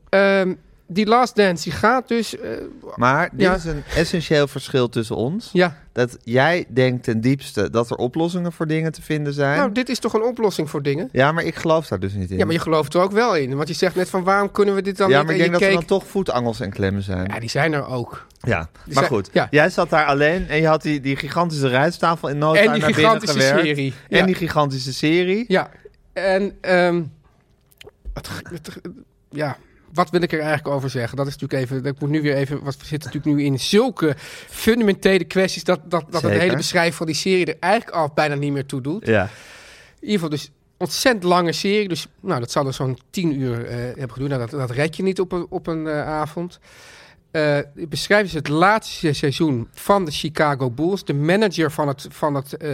[SPEAKER 4] Ehm, die last dance, die gaat dus, eh,
[SPEAKER 3] Maar dit
[SPEAKER 4] Ja.
[SPEAKER 3] is een essentieel verschil tussen ons.
[SPEAKER 4] ja.
[SPEAKER 3] Dat jij denkt ten diepste dat er oplossingen voor dingen te vinden zijn.
[SPEAKER 4] Nou, dit is toch een oplossing voor dingen?
[SPEAKER 3] Ja, maar ik geloof daar dus niet in.
[SPEAKER 4] Ja, maar je gelooft er ook wel in. Want je zegt net van, waarom kunnen we dit dan
[SPEAKER 3] ja,
[SPEAKER 4] niet?
[SPEAKER 3] maar ik
[SPEAKER 4] En
[SPEAKER 3] denk dat
[SPEAKER 4] je
[SPEAKER 3] er dan
[SPEAKER 4] keek-
[SPEAKER 3] toch voetangels en klemmen zijn.
[SPEAKER 4] Ja, die zijn er ook.
[SPEAKER 3] Ja, maar
[SPEAKER 4] zijn-
[SPEAKER 3] goed.
[SPEAKER 4] ja.
[SPEAKER 3] Jij zat daar alleen en je had die, die gigantische rijsttafel in no time
[SPEAKER 4] En die
[SPEAKER 3] naar binnen
[SPEAKER 4] gigantische
[SPEAKER 3] gewerkt.
[SPEAKER 4] serie.
[SPEAKER 3] En
[SPEAKER 4] Ja.
[SPEAKER 3] die gigantische serie.
[SPEAKER 4] Ja, en ehm, het, g- het g- ja, wat wil ik er eigenlijk over zeggen? Dat is natuurlijk even, ik moet nu weer even, want we zitten natuurlijk nu in zulke fundamentele kwesties dat, dat, dat het
[SPEAKER 3] Zeker.
[SPEAKER 4] hele beschrijven van die serie er eigenlijk al bijna niet meer toe doet.
[SPEAKER 3] Ja.
[SPEAKER 4] In ieder geval dus ontzettend lange serie, dus nou, dat zal er zo'n tien uur eh, hebben geduurd. Nou, dat, dat red je niet op een, op een eh, avond. Eh beschrijven ze het laatste seizoen van de Chicago Bulls. De manager van, het, van, het, eh,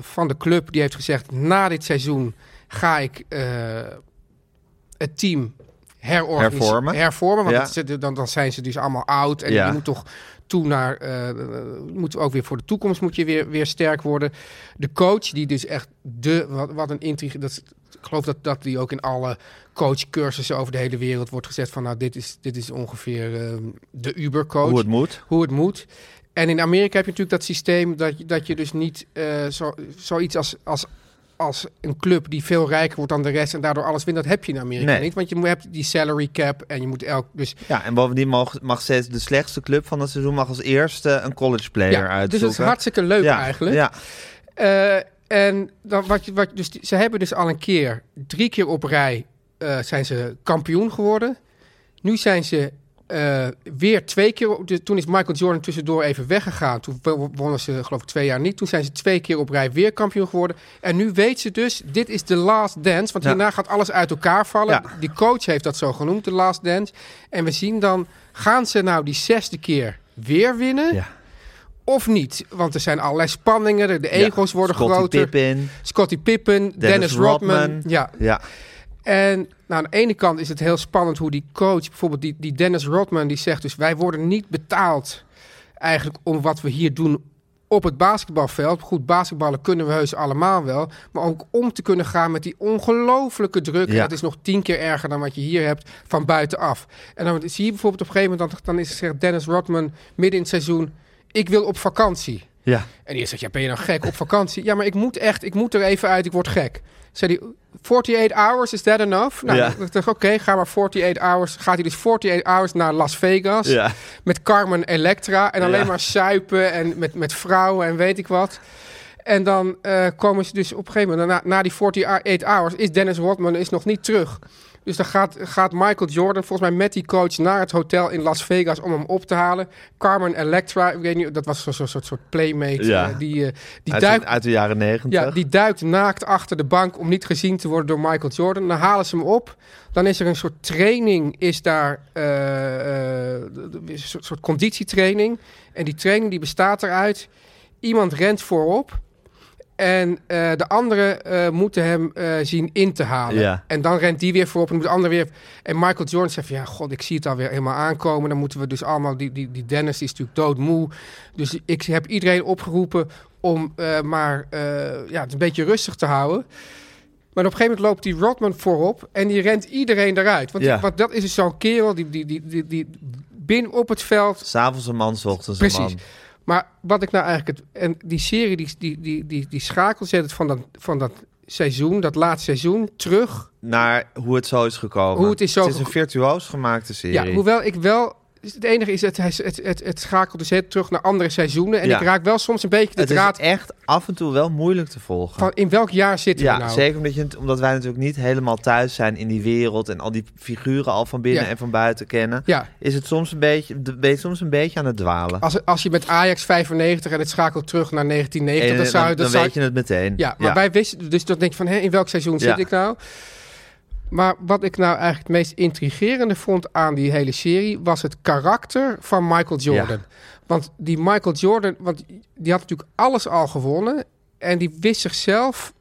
[SPEAKER 4] van de club die heeft gezegd... na dit seizoen ga ik eh, het team herorganiseren.
[SPEAKER 3] Hervormen.
[SPEAKER 4] hervormen want
[SPEAKER 3] Ja.
[SPEAKER 4] het zit- dan, dan zijn ze dus allemaal oud. En
[SPEAKER 3] Ja.
[SPEAKER 4] je moet toch toe naar... eh, je moet ook weer voor de toekomst moet je weer, weer sterk worden. De coach die dus echt de... Wat, wat een intrigue... Dat, is- ik geloof dat, dat die ook in alle coachcursussen over de hele wereld wordt gezet van nou, dit is, dit is ongeveer ehm, de Uber-coach.
[SPEAKER 3] Hoe het moet.
[SPEAKER 4] Hoe het moet. En in Amerika heb je natuurlijk dat systeem dat je, dat je dus niet eh, zo, zoiets als, als, als een club die veel rijker wordt dan de rest en daardoor alles wint, dat heb je in Amerika
[SPEAKER 3] Nee.
[SPEAKER 4] niet. Want je moet- hebt die salary cap en je moet elk... Dus,
[SPEAKER 3] Ja, en bovendien mag, mag steeds de slechtste club van het seizoen mag als eerste een college player
[SPEAKER 4] ja,
[SPEAKER 3] uitzoeken.
[SPEAKER 4] dus dat is hartstikke leuk
[SPEAKER 3] ja.
[SPEAKER 4] eigenlijk.
[SPEAKER 3] Ja.
[SPEAKER 4] Eh, en dan wat, je- wat, je- dus die- ze hebben dus al een keer, drie keer op rij, eh, zijn ze kampioen geworden. Nu zijn ze eh, weer twee keer... op- de- toen is Michael Jordan tussendoor even weggegaan. Toen wo- wonnen ze geloof ik twee jaar niet. Toen zijn ze twee keer op rij weer kampioen geworden. En nu weet ze dus, dit is de last dance. Want
[SPEAKER 3] Ja.
[SPEAKER 4] hierna gaat alles uit elkaar vallen.
[SPEAKER 3] Ja.
[SPEAKER 4] Die coach heeft dat zo genoemd, de last dance. En we zien dan, gaan ze nou die zesde keer weer winnen?
[SPEAKER 3] Ja.
[SPEAKER 4] Of niet? Want er zijn allerlei spanningen. De, de ego's worden
[SPEAKER 3] Scottie
[SPEAKER 4] groter.
[SPEAKER 3] Pippen.
[SPEAKER 4] Scottie Pippen, Dennis, Rodman.
[SPEAKER 3] Rodman.
[SPEAKER 4] Ja.
[SPEAKER 3] Ja,
[SPEAKER 4] En nou, aan de ene kant is het heel spannend hoe die coach, bijvoorbeeld die, die Dennis Rodman, die zegt dus wij worden niet betaald eigenlijk om wat we hier doen op het basketbalveld. Goed, basketballen kunnen we heus allemaal wel. Maar ook om te kunnen gaan met die ongelofelijke druk.
[SPEAKER 3] Ja.
[SPEAKER 4] En dat is nog tien keer erger dan wat je hier hebt van buitenaf. En dan zie je bijvoorbeeld op een gegeven moment, dan, dan is, zegt Dennis Rodman midden in het seizoen, ik wil op vakantie.
[SPEAKER 3] ja.
[SPEAKER 4] En die zegt, ja, ben je nou gek op vakantie? Ja, maar ik moet echt, ik moet er even uit, ik word gek. Zei hij, 48 hours, is that enough? Nou,
[SPEAKER 3] Ja.
[SPEAKER 4] ik dacht, oké, ga maar 48 hours. Gaat hij dus 48 hours naar Las Vegas
[SPEAKER 3] Ja.
[SPEAKER 4] met Carmen Electra... en alleen
[SPEAKER 3] Ja.
[SPEAKER 4] maar suipen en met, met vrouwen en weet ik wat... En dan eh, komen ze dus op een gegeven moment, na, na die 48 hours, is Dennis Rodman is nog niet terug. Dus dan gaat, gaat Michael Jordan volgens mij met die coach naar het hotel in Las Vegas om hem op te halen. Carmen Electra, ik weet niet, dat was zo'n soort, soort, soort playmate.
[SPEAKER 3] Ja.
[SPEAKER 4] eh, die, eh, die,
[SPEAKER 3] Uit, de-
[SPEAKER 4] duikt,
[SPEAKER 3] uit de jaren negentig.
[SPEAKER 4] ja, die duikt naakt achter de bank om niet gezien te worden door Michael Jordan. Dan halen ze hem op. Dan is er een soort training, is daar eh, eh, een soort, soort conditietraining. En die training die bestaat eruit. Iemand rent voorop. En eh, de anderen eh, moeten hem eh, zien in te halen.
[SPEAKER 3] Ja.
[SPEAKER 4] En dan rent die weer voorop en moet de ander weer... En Michael Jordan zegt van, ja, god, ik zie het alweer helemaal aankomen. Dan moeten we dus allemaal... Die, die, die Dennis die is natuurlijk doodmoe. Dus ik heb iedereen opgeroepen om eh, maar eh, ja, het een beetje rustig te houden. Maar op een gegeven moment loopt die Rodman voorop en die rent iedereen eruit. Want,
[SPEAKER 3] Ja.
[SPEAKER 4] want dat is dus zo'n kerel die, die, die, die, die binnen op het veld
[SPEAKER 3] S'avonds een man, 's ochtends een
[SPEAKER 4] Precies.
[SPEAKER 3] man.
[SPEAKER 4] Maar wat ik nou eigenlijk. Het, en die serie, die, die, die, die, die schakelt zet het van dat, van dat seizoen, dat laatste seizoen, terug.
[SPEAKER 3] Naar hoe het zo is gekomen.
[SPEAKER 4] Hoe het is zo
[SPEAKER 3] het is een
[SPEAKER 4] geko-
[SPEAKER 3] virtuoos gemaakte serie.
[SPEAKER 4] Ja, hoewel ik wel. Het enige is, het, het, het, het, het schakelt dus het terug naar andere seizoenen. En
[SPEAKER 3] Ja.
[SPEAKER 4] ik raak wel soms een beetje de
[SPEAKER 3] het
[SPEAKER 4] draad
[SPEAKER 3] is echt af en toe wel moeilijk te volgen.
[SPEAKER 4] van in welk jaar zitten
[SPEAKER 3] ja,
[SPEAKER 4] we nou?
[SPEAKER 3] zeker omdat, je, het- omdat wij natuurlijk niet helemaal thuis zijn in die wereld en al die figuren al van binnen
[SPEAKER 4] Ja.
[SPEAKER 3] en van buiten kennen.
[SPEAKER 4] Ja,
[SPEAKER 3] Is het soms een beetje, de- ben je soms een beetje aan het dwalen.
[SPEAKER 4] als, als je met Ajax 95 en het schakelt terug naar
[SPEAKER 3] En eh,
[SPEAKER 4] 1990, dan zou je
[SPEAKER 3] dan
[SPEAKER 4] dat zou,
[SPEAKER 3] weet je het meteen.
[SPEAKER 4] Ja, maar wij wisten dus dat denk je van, hè, in welk seizoen
[SPEAKER 3] Ja.
[SPEAKER 4] zit ik nou? Maar wat ik nou eigenlijk het meest intrigerende vond aan die hele serie was het karakter van Michael Jordan. Want die Michael Jordan, want die had natuurlijk alles al gewonnen en die wist zichzelf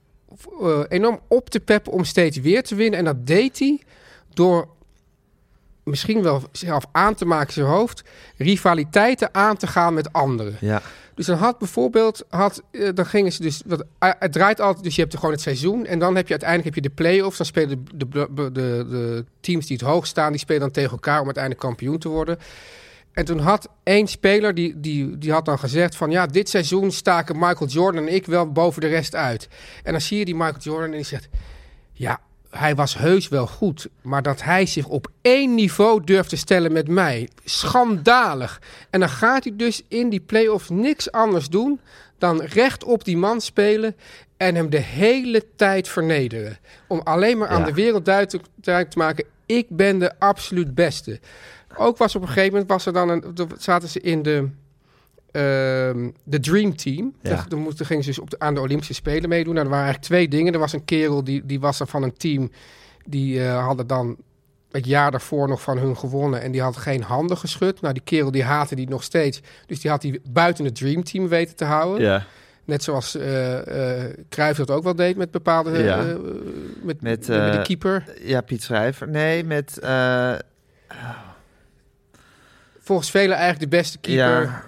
[SPEAKER 4] eh, enorm op te peppen om steeds weer te winnen. En dat deed hij door misschien wel zelf aan te maken in zijn hoofd, rivaliteiten aan te gaan met anderen.
[SPEAKER 3] ja.
[SPEAKER 4] Dus dan had bijvoorbeeld, had, eh, dan gingen ze dus, wat, eh, het draait altijd, dus je hebt gewoon het seizoen en dan heb je uiteindelijk heb je de play-offs, dan spelen de, de, de, de teams die het hoog staan, die spelen dan tegen elkaar om uiteindelijk kampioen te worden. En toen had één speler, die, die, die had dan gezegd van... ja, dit seizoen staken Michael Jordan en ik wel boven de rest uit. En dan zie je die Michael Jordan en die zegt... ja, hij was heus wel goed... maar dat hij zich op één niveau durft te stellen met mij. Schandalig. En dan gaat hij dus in die play-offs niks anders doen... dan recht op die man spelen... en hem de hele tijd vernederen. Om alleen maar aan
[SPEAKER 3] Ja.
[SPEAKER 4] de wereld duidelijk duidelijk te maken... ik ben de absoluut beste. Ook was op een gegeven moment was er dan een, er zaten ze in de, ehm, de Dream Team.
[SPEAKER 3] Ja.
[SPEAKER 4] Dan, dan moesten, gingen ze dus op de, aan de Olympische Spelen meedoen. Nou, er waren eigenlijk twee dingen. Er was een kerel die, die was er van een team. Die eh, hadden dan het jaar daarvoor nog van hun gewonnen. En die had geen handen geschud. Nou, die kerel die haatte die nog steeds. Dus die had die buiten het Dream Team weten te houden.
[SPEAKER 3] ja.
[SPEAKER 4] Net zoals eh eh, Cruijff dat ook wel deed met bepaalde... eh,
[SPEAKER 3] Ja.
[SPEAKER 4] eh, met,
[SPEAKER 3] Met,
[SPEAKER 4] met,
[SPEAKER 3] eh,
[SPEAKER 4] de keeper.
[SPEAKER 3] Ja, Piet Schrijver. Nee, met... eh,
[SPEAKER 4] Volgens velen eigenlijk de beste keeper.
[SPEAKER 3] Ja.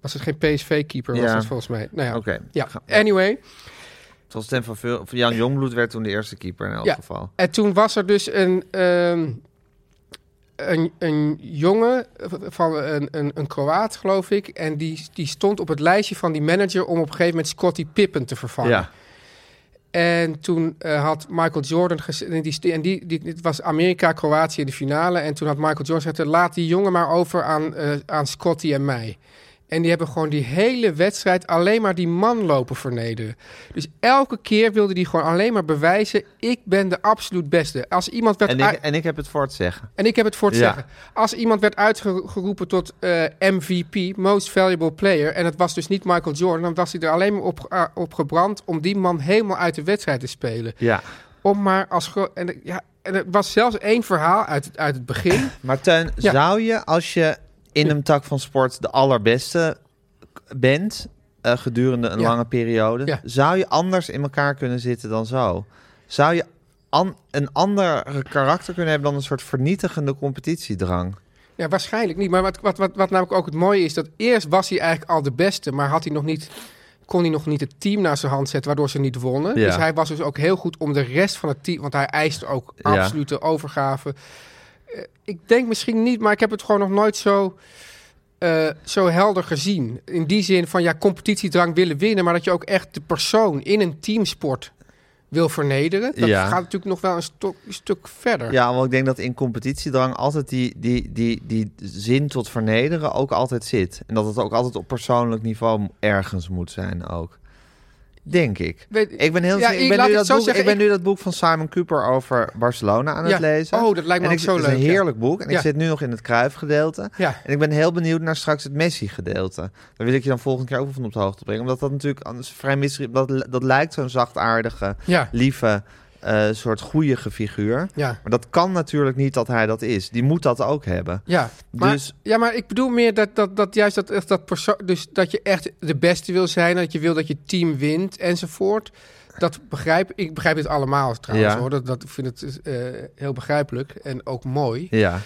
[SPEAKER 4] Was het geen PSV-keeper?
[SPEAKER 3] Ja.
[SPEAKER 4] Was het volgens mij. Nou ja.
[SPEAKER 3] Oké.
[SPEAKER 4] Ja,
[SPEAKER 3] Ga-
[SPEAKER 4] anyway.
[SPEAKER 3] Het was Stan van Veul... of Jan Jongbloed werd toen de eerste keeper in elk
[SPEAKER 4] Ja.
[SPEAKER 3] geval.
[SPEAKER 4] En toen was er dus een, ehm, een, een jongen van een, een, een Kroaat, geloof ik. En die, die stond op het lijstje van die manager om op een gegeven moment Scottie Pippen te vervangen.
[SPEAKER 3] Ja.
[SPEAKER 4] En toen eh, had Michael Jordan... gez- en die, st- en die, die, het was Amerika-Kroatië in de finale. En toen had Michael Jordan gezegd... laat die jongen maar over aan, eh, aan eh, Scotty en mij. En die hebben gewoon die hele wedstrijd alleen maar die man lopen vernederen. Dus elke keer wilde die gewoon alleen maar bewijzen... ik ben de absoluut beste. Als iemand werd
[SPEAKER 3] En
[SPEAKER 4] uit-
[SPEAKER 3] ik, en ik heb het voor het zeggen.
[SPEAKER 4] en ik heb het voor het
[SPEAKER 3] Ja.
[SPEAKER 4] zeggen. Als iemand werd uitgeroepen tot eh, MVP, Most Valuable Player, en het was dus niet Michael Jordan, dan was hij er alleen maar op, ah, op gebrand om die man helemaal uit de wedstrijd te spelen.
[SPEAKER 3] Ja.
[SPEAKER 4] Om maar als gro- en, eh, ja, en er was zelfs één verhaal uit, het- uit het begin.
[SPEAKER 3] Maar Teun,
[SPEAKER 4] Ja.
[SPEAKER 3] zou je als je in een tak van sport de allerbeste k- bent eh, gedurende een
[SPEAKER 4] Ja.
[SPEAKER 3] lange periode,
[SPEAKER 4] Ja.
[SPEAKER 3] zou je anders in elkaar kunnen zitten dan zo? Zou je an- een ander karakter kunnen hebben dan een soort vernietigende competitiedrang?
[SPEAKER 4] Ja, waarschijnlijk niet. Maar wat, wat, wat, wat namelijk ook het mooie is, dat eerst was hij eigenlijk al de beste, maar had hij nog niet, kon hij nog niet het team naar zijn hand zetten, waardoor ze niet wonnen.
[SPEAKER 3] Ja.
[SPEAKER 4] Dus hij was dus ook heel goed om de rest van het team, want hij eiste ook
[SPEAKER 3] Ja.
[SPEAKER 4] absolute overgave. Eh, ik denk misschien niet, maar ik heb het gewoon nog nooit zo, eh, zo helder gezien. In die zin van ja, competitiedrang willen winnen, maar dat je ook echt de persoon in een teamsport wil vernederen. Dat
[SPEAKER 3] Ja.
[SPEAKER 4] gaat natuurlijk nog wel een, stok- een stuk verder.
[SPEAKER 3] Ja, want ik denk dat in competitiedrang altijd die, die, die, die zin tot vernederen ook altijd zit. En dat het ook altijd op persoonlijk niveau ergens moet zijn ook. Denk ik.
[SPEAKER 4] Weet-
[SPEAKER 3] Ik ben, heel,
[SPEAKER 4] Ja,
[SPEAKER 3] ik,
[SPEAKER 4] ik-
[SPEAKER 3] ben
[SPEAKER 4] laat
[SPEAKER 3] nu
[SPEAKER 4] ik
[SPEAKER 3] dat
[SPEAKER 4] zo
[SPEAKER 3] boek,
[SPEAKER 4] zeggen,
[SPEAKER 3] ik ben
[SPEAKER 4] ik-
[SPEAKER 3] nu dat boek van Simon Cooper over Barcelona aan
[SPEAKER 4] Ja.
[SPEAKER 3] het lezen.
[SPEAKER 4] Oh, dat lijkt me
[SPEAKER 3] En
[SPEAKER 4] ook
[SPEAKER 3] ik-
[SPEAKER 4] zo
[SPEAKER 3] Het is
[SPEAKER 4] leuk,
[SPEAKER 3] een
[SPEAKER 4] ja.
[SPEAKER 3] heerlijk boek. En
[SPEAKER 4] Ja.
[SPEAKER 3] ik zit nu nog in het kruifgedeelte.
[SPEAKER 4] Ja.
[SPEAKER 3] En ik ben heel benieuwd naar straks het Messi-gedeelte. Daar wil ik je dan volgende keer ook wel van op de hoogte brengen. Omdat dat natuurlijk anders vrij mysterie... Dat, dat lijkt zo'n zachtaardige,
[SPEAKER 4] Ja.
[SPEAKER 3] lieve, eh, soort goeie figuur.
[SPEAKER 4] Ja.
[SPEAKER 3] Maar dat kan natuurlijk niet dat hij dat is. Die moet dat ook hebben.
[SPEAKER 4] Ja, maar,
[SPEAKER 3] Dus-
[SPEAKER 4] ja, maar ik bedoel meer dat, dat, dat juist dat, echt dat perso- dus dat je echt de beste wil zijn, dat je wil dat je team wint enzovoort. Dat begrijp ik, begrijp dit allemaal trouwens
[SPEAKER 3] Ja.
[SPEAKER 4] hoor. Dat, dat ik vind het eh, heel begrijpelijk en ook mooi.
[SPEAKER 3] Ja.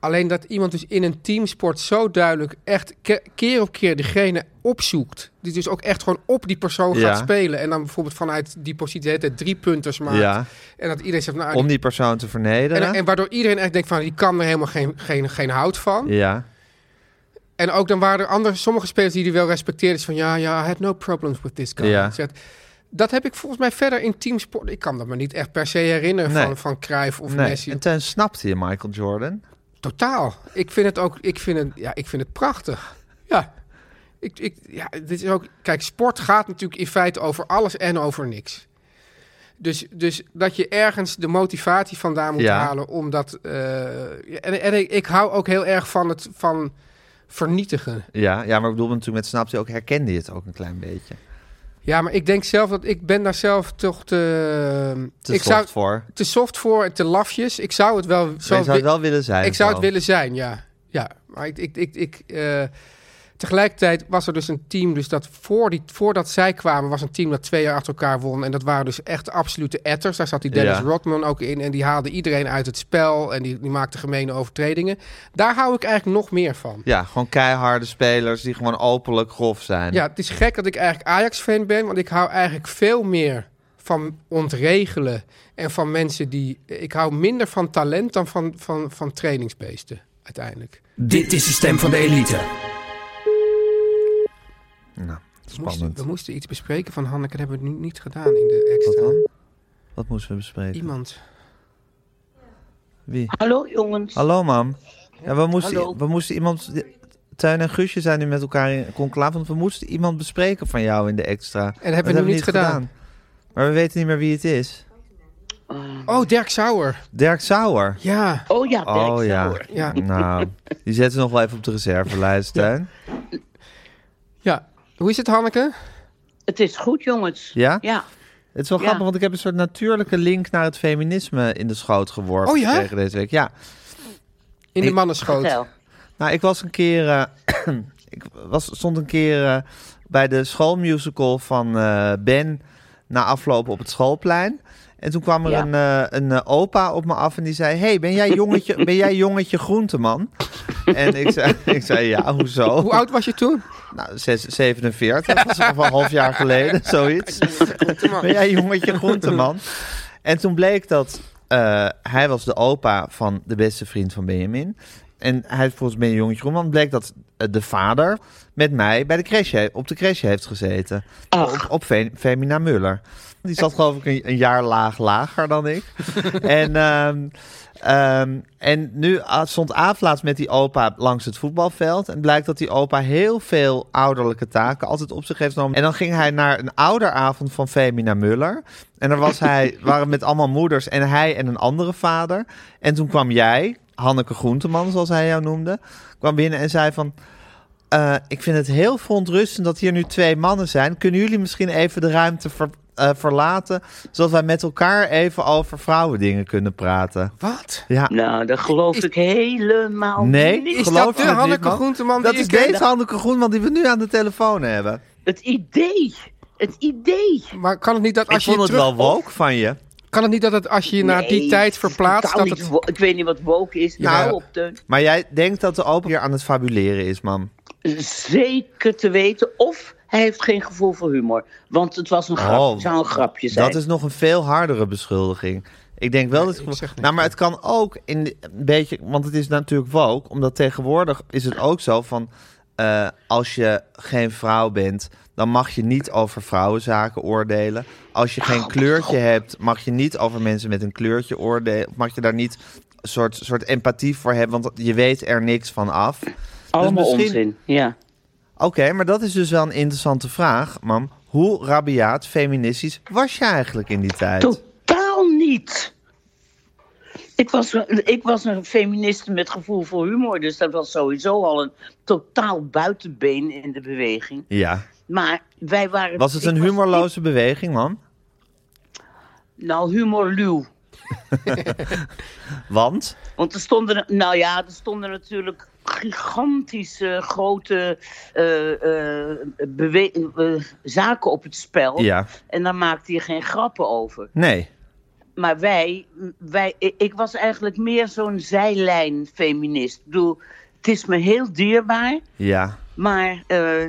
[SPEAKER 4] Alleen dat iemand dus in een teamsport zo duidelijk echt ke- keer op keer degene opzoekt. Die dus ook echt gewoon op die persoon
[SPEAKER 3] Ja.
[SPEAKER 4] gaat spelen. En dan bijvoorbeeld vanuit die positie de hele tijd drie punters maakt.
[SPEAKER 3] Ja.
[SPEAKER 4] En dat iedereen zegt, nou, die-
[SPEAKER 3] Om die persoon te vernederen.
[SPEAKER 4] en, en waardoor iedereen echt denkt van, die kan er helemaal geen, geen, geen hout van.
[SPEAKER 3] ja.
[SPEAKER 4] En ook dan waren er andere, sommige spelers die die wel respecteerden. is van ja, ja, I had no problems with this guy.
[SPEAKER 3] Ja.
[SPEAKER 4] Zegt, dat heb ik volgens mij verder in teamsport. Ik kan dat me niet echt per se herinneren
[SPEAKER 3] Nee.
[SPEAKER 4] van, van Cruijff of
[SPEAKER 3] Nee.
[SPEAKER 4] Messi.
[SPEAKER 3] En ten snapte je Michael Jordan.
[SPEAKER 4] Totaal. Ik vind het ook, ik vind het, ja, ik vind het prachtig. Ja. Ik, ik, ja, dit is ook, kijk, sport gaat natuurlijk in feite over alles en over niks. Dus, dus dat je ergens de motivatie vandaan moet
[SPEAKER 3] Ja.
[SPEAKER 4] halen, omdat. eh, en en ik, ik hou ook heel erg van het van vernietigen.
[SPEAKER 3] Ja, ja, maar ik bedoel natuurlijk met snapte je ook, herkende je het ook een klein beetje.
[SPEAKER 4] Ja, maar ik denk zelf dat ik ben daar zelf toch te,
[SPEAKER 3] Te
[SPEAKER 4] ik
[SPEAKER 3] soft
[SPEAKER 4] zou,
[SPEAKER 3] voor.
[SPEAKER 4] te soft voor en te lafjes. Ik zou het wel
[SPEAKER 3] Zo
[SPEAKER 4] zo
[SPEAKER 3] zou het
[SPEAKER 4] wi-
[SPEAKER 3] wel willen zijn.
[SPEAKER 4] ik zou het
[SPEAKER 3] gewoon.
[SPEAKER 4] willen zijn, ja, ja. Maar ik, ik, ik, ik eh, tegelijkertijd was er dus een team, dus dat voor die, voordat zij kwamen was een team dat twee jaar achter elkaar won en dat waren dus echt de absolute etters. Daar zat die Dennis
[SPEAKER 3] Ja.
[SPEAKER 4] Rodman ook in en die haalde iedereen uit het spel en die, die maakte gemene overtredingen. Daar hou ik eigenlijk nog meer van.
[SPEAKER 3] Ja, gewoon keiharde spelers die gewoon openlijk grof zijn.
[SPEAKER 4] Ja, het is gek dat ik eigenlijk Ajax-fan ben, want ik hou eigenlijk veel meer van ontregelen en van mensen die. Ik hou minder van talent dan van, van, van trainingsbeesten uiteindelijk.
[SPEAKER 6] Dit is de stem van de elite.
[SPEAKER 3] Nou,
[SPEAKER 4] We moesten,
[SPEAKER 3] spannend.
[SPEAKER 4] we moesten iets bespreken van Hanneke, dat hebben we nu niet gedaan in de
[SPEAKER 3] Wat
[SPEAKER 4] extra.
[SPEAKER 3] dan? Wat moesten we bespreken?
[SPEAKER 4] Iemand.
[SPEAKER 3] Wie?
[SPEAKER 8] Hallo jongens.
[SPEAKER 3] Hallo, mam. Ja, we, moesten,
[SPEAKER 8] Hallo.
[SPEAKER 3] we moesten iemand... Tuin en Guusje zijn nu met elkaar in conclave, want we moesten iemand bespreken van jou in de extra. En
[SPEAKER 4] hebben we nu niet gedaan.
[SPEAKER 3] Maar we weten niet meer wie het is.
[SPEAKER 4] Oh, Dirk Sauer.
[SPEAKER 3] Dirk Sauer.
[SPEAKER 4] Ja.
[SPEAKER 8] Oh ja, Dirk
[SPEAKER 3] Oh ja.
[SPEAKER 8] Sauer.
[SPEAKER 4] Ja.
[SPEAKER 3] Nou, die zetten we nog wel even op de reservelijst, Tuin.
[SPEAKER 4] ja. Hoe is het, Hanneke?
[SPEAKER 8] Het is goed jongens.
[SPEAKER 3] Ja?
[SPEAKER 8] Ja.
[SPEAKER 3] Het is wel
[SPEAKER 8] Ja.
[SPEAKER 3] grappig, want ik heb een soort natuurlijke link naar het feminisme in de schoot geworpen
[SPEAKER 4] Oh ja?
[SPEAKER 3] tegen deze week. Ja.
[SPEAKER 4] In de
[SPEAKER 3] Ik-
[SPEAKER 4] mannenschoot.
[SPEAKER 8] Vertel.
[SPEAKER 3] Nou, ik was een keer. eh, [CLEARS THROAT] ik was, stond een keer eh, bij de schoolmusical van eh, Ben. Na afloop op het schoolplein. En toen kwam er
[SPEAKER 8] Ja.
[SPEAKER 3] een, eh, een eh, opa op me af en die zei: Hey, ben jij jongetje, ben jij jongetje groenteman? En ik zei, [LAUGHS] ik zei: Ja, hoezo?
[SPEAKER 4] Hoe oud was je toen?
[SPEAKER 3] Nou, zes- 47, dat was nog wel een half jaar geleden, zoiets. Ben jij jongetje groenteman? En toen bleek dat eh, hij was de opa van de beste vriend van Benjamin. En hij is volgens mij een jongetje Roerman. Bleek dat eh, de vader met mij bij de crash he- op de crash heeft gezeten. Op, op Fe- Femina Muller. Die zat geloof ik een, een jaar laag lager dan ik. en, ehm, ehm, en nu ah, stond Aaf laatst met die opa langs het voetbalveld. En blijkt dat die opa heel veel ouderlijke taken altijd op zich heeft genomen. En dan ging hij naar een ouderavond van Femina Muller. En daar was hij, waren met allemaal moeders en hij en een andere vader. En toen kwam jij, Hanneke Groenteman, zoals hij jou noemde, kwam binnen en zei van... Eh, ik vind het heel verontrustend dat hier nu twee mannen zijn. Kunnen jullie misschien even de ruimte ver- eh, verlaten, zodat wij met elkaar even over vrouwendingen kunnen praten?
[SPEAKER 4] Wat?
[SPEAKER 3] Ja.
[SPEAKER 8] Nou, dat geloof ik helemaal
[SPEAKER 3] Nee,
[SPEAKER 8] niet.
[SPEAKER 4] Is
[SPEAKER 3] geloof
[SPEAKER 4] dat de
[SPEAKER 3] je dit,
[SPEAKER 4] Hanneke
[SPEAKER 3] man?
[SPEAKER 4] Groenteman die
[SPEAKER 3] Dat is
[SPEAKER 4] ik ken?
[SPEAKER 3] deze Hanneke Groenteman die we nu aan de telefoon hebben.
[SPEAKER 8] Het idee. Het idee.
[SPEAKER 4] Maar kan het niet dat
[SPEAKER 3] Ik
[SPEAKER 4] als je
[SPEAKER 3] vond
[SPEAKER 4] je
[SPEAKER 3] het
[SPEAKER 4] terug...
[SPEAKER 3] wel woke van je.
[SPEAKER 4] Kan het niet dat het als je je naar die
[SPEAKER 8] Nee,
[SPEAKER 4] tijd verplaatst...
[SPEAKER 8] totaal
[SPEAKER 4] Dat het...
[SPEAKER 8] niet wo- Ik weet niet wat woke is.
[SPEAKER 4] Jawel.
[SPEAKER 8] Nou, op de...
[SPEAKER 3] Maar jij denkt dat de opa hier aan het fabuleren is, man.
[SPEAKER 8] Zeker te weten. Of hij heeft geen gevoel voor humor. Want het was een grap.
[SPEAKER 3] Oh,
[SPEAKER 8] het zou een grapje zijn.
[SPEAKER 3] Dat is nog een veel hardere beschuldiging. Ik denk wel dat.
[SPEAKER 4] ik zeg niks.
[SPEAKER 3] nou, maar het kan ook in de- een beetje. Want het is natuurlijk woke. Omdat tegenwoordig is het ook zo van. eh, als je geen vrouw bent, dan mag je niet over vrouwenzaken oordelen. Als je
[SPEAKER 8] Oh,
[SPEAKER 3] geen kleurtje hebt, mag je niet over mensen met een kleurtje oordelen. Of mag je daar niet een soort, soort empathie voor hebben, want je weet er niks van af. Dus
[SPEAKER 8] Allemaal
[SPEAKER 3] misschien-
[SPEAKER 8] onzin. Ja.
[SPEAKER 3] Oké, maar dat is dus wel een interessante vraag, mam. Hoe rabiaat feministisch was je eigenlijk in die tijd?
[SPEAKER 8] Totaal niet. Ik was, een- ik was een feministe met gevoel voor humor, dus dat was sowieso al een totaal buitenbeen in de beweging.
[SPEAKER 3] Ja.
[SPEAKER 8] Maar wij waren.
[SPEAKER 3] Was het
[SPEAKER 8] ik
[SPEAKER 3] een humorloze beweging, man?
[SPEAKER 8] nou, humorluw.
[SPEAKER 3] Want?
[SPEAKER 8] Want er stonden, nou ja, er stonden natuurlijk gigantische grote eh, eh, bewe- eh, zaken op het spel.
[SPEAKER 3] Ja.
[SPEAKER 8] En daar maakte je geen grappen over.
[SPEAKER 3] Nee.
[SPEAKER 8] Maar wij, wij ik- ik was eigenlijk meer zo'n zijlijn-feminist. Ik bedoel, het is me heel dierbaar,
[SPEAKER 3] Ja.
[SPEAKER 8] maar eh,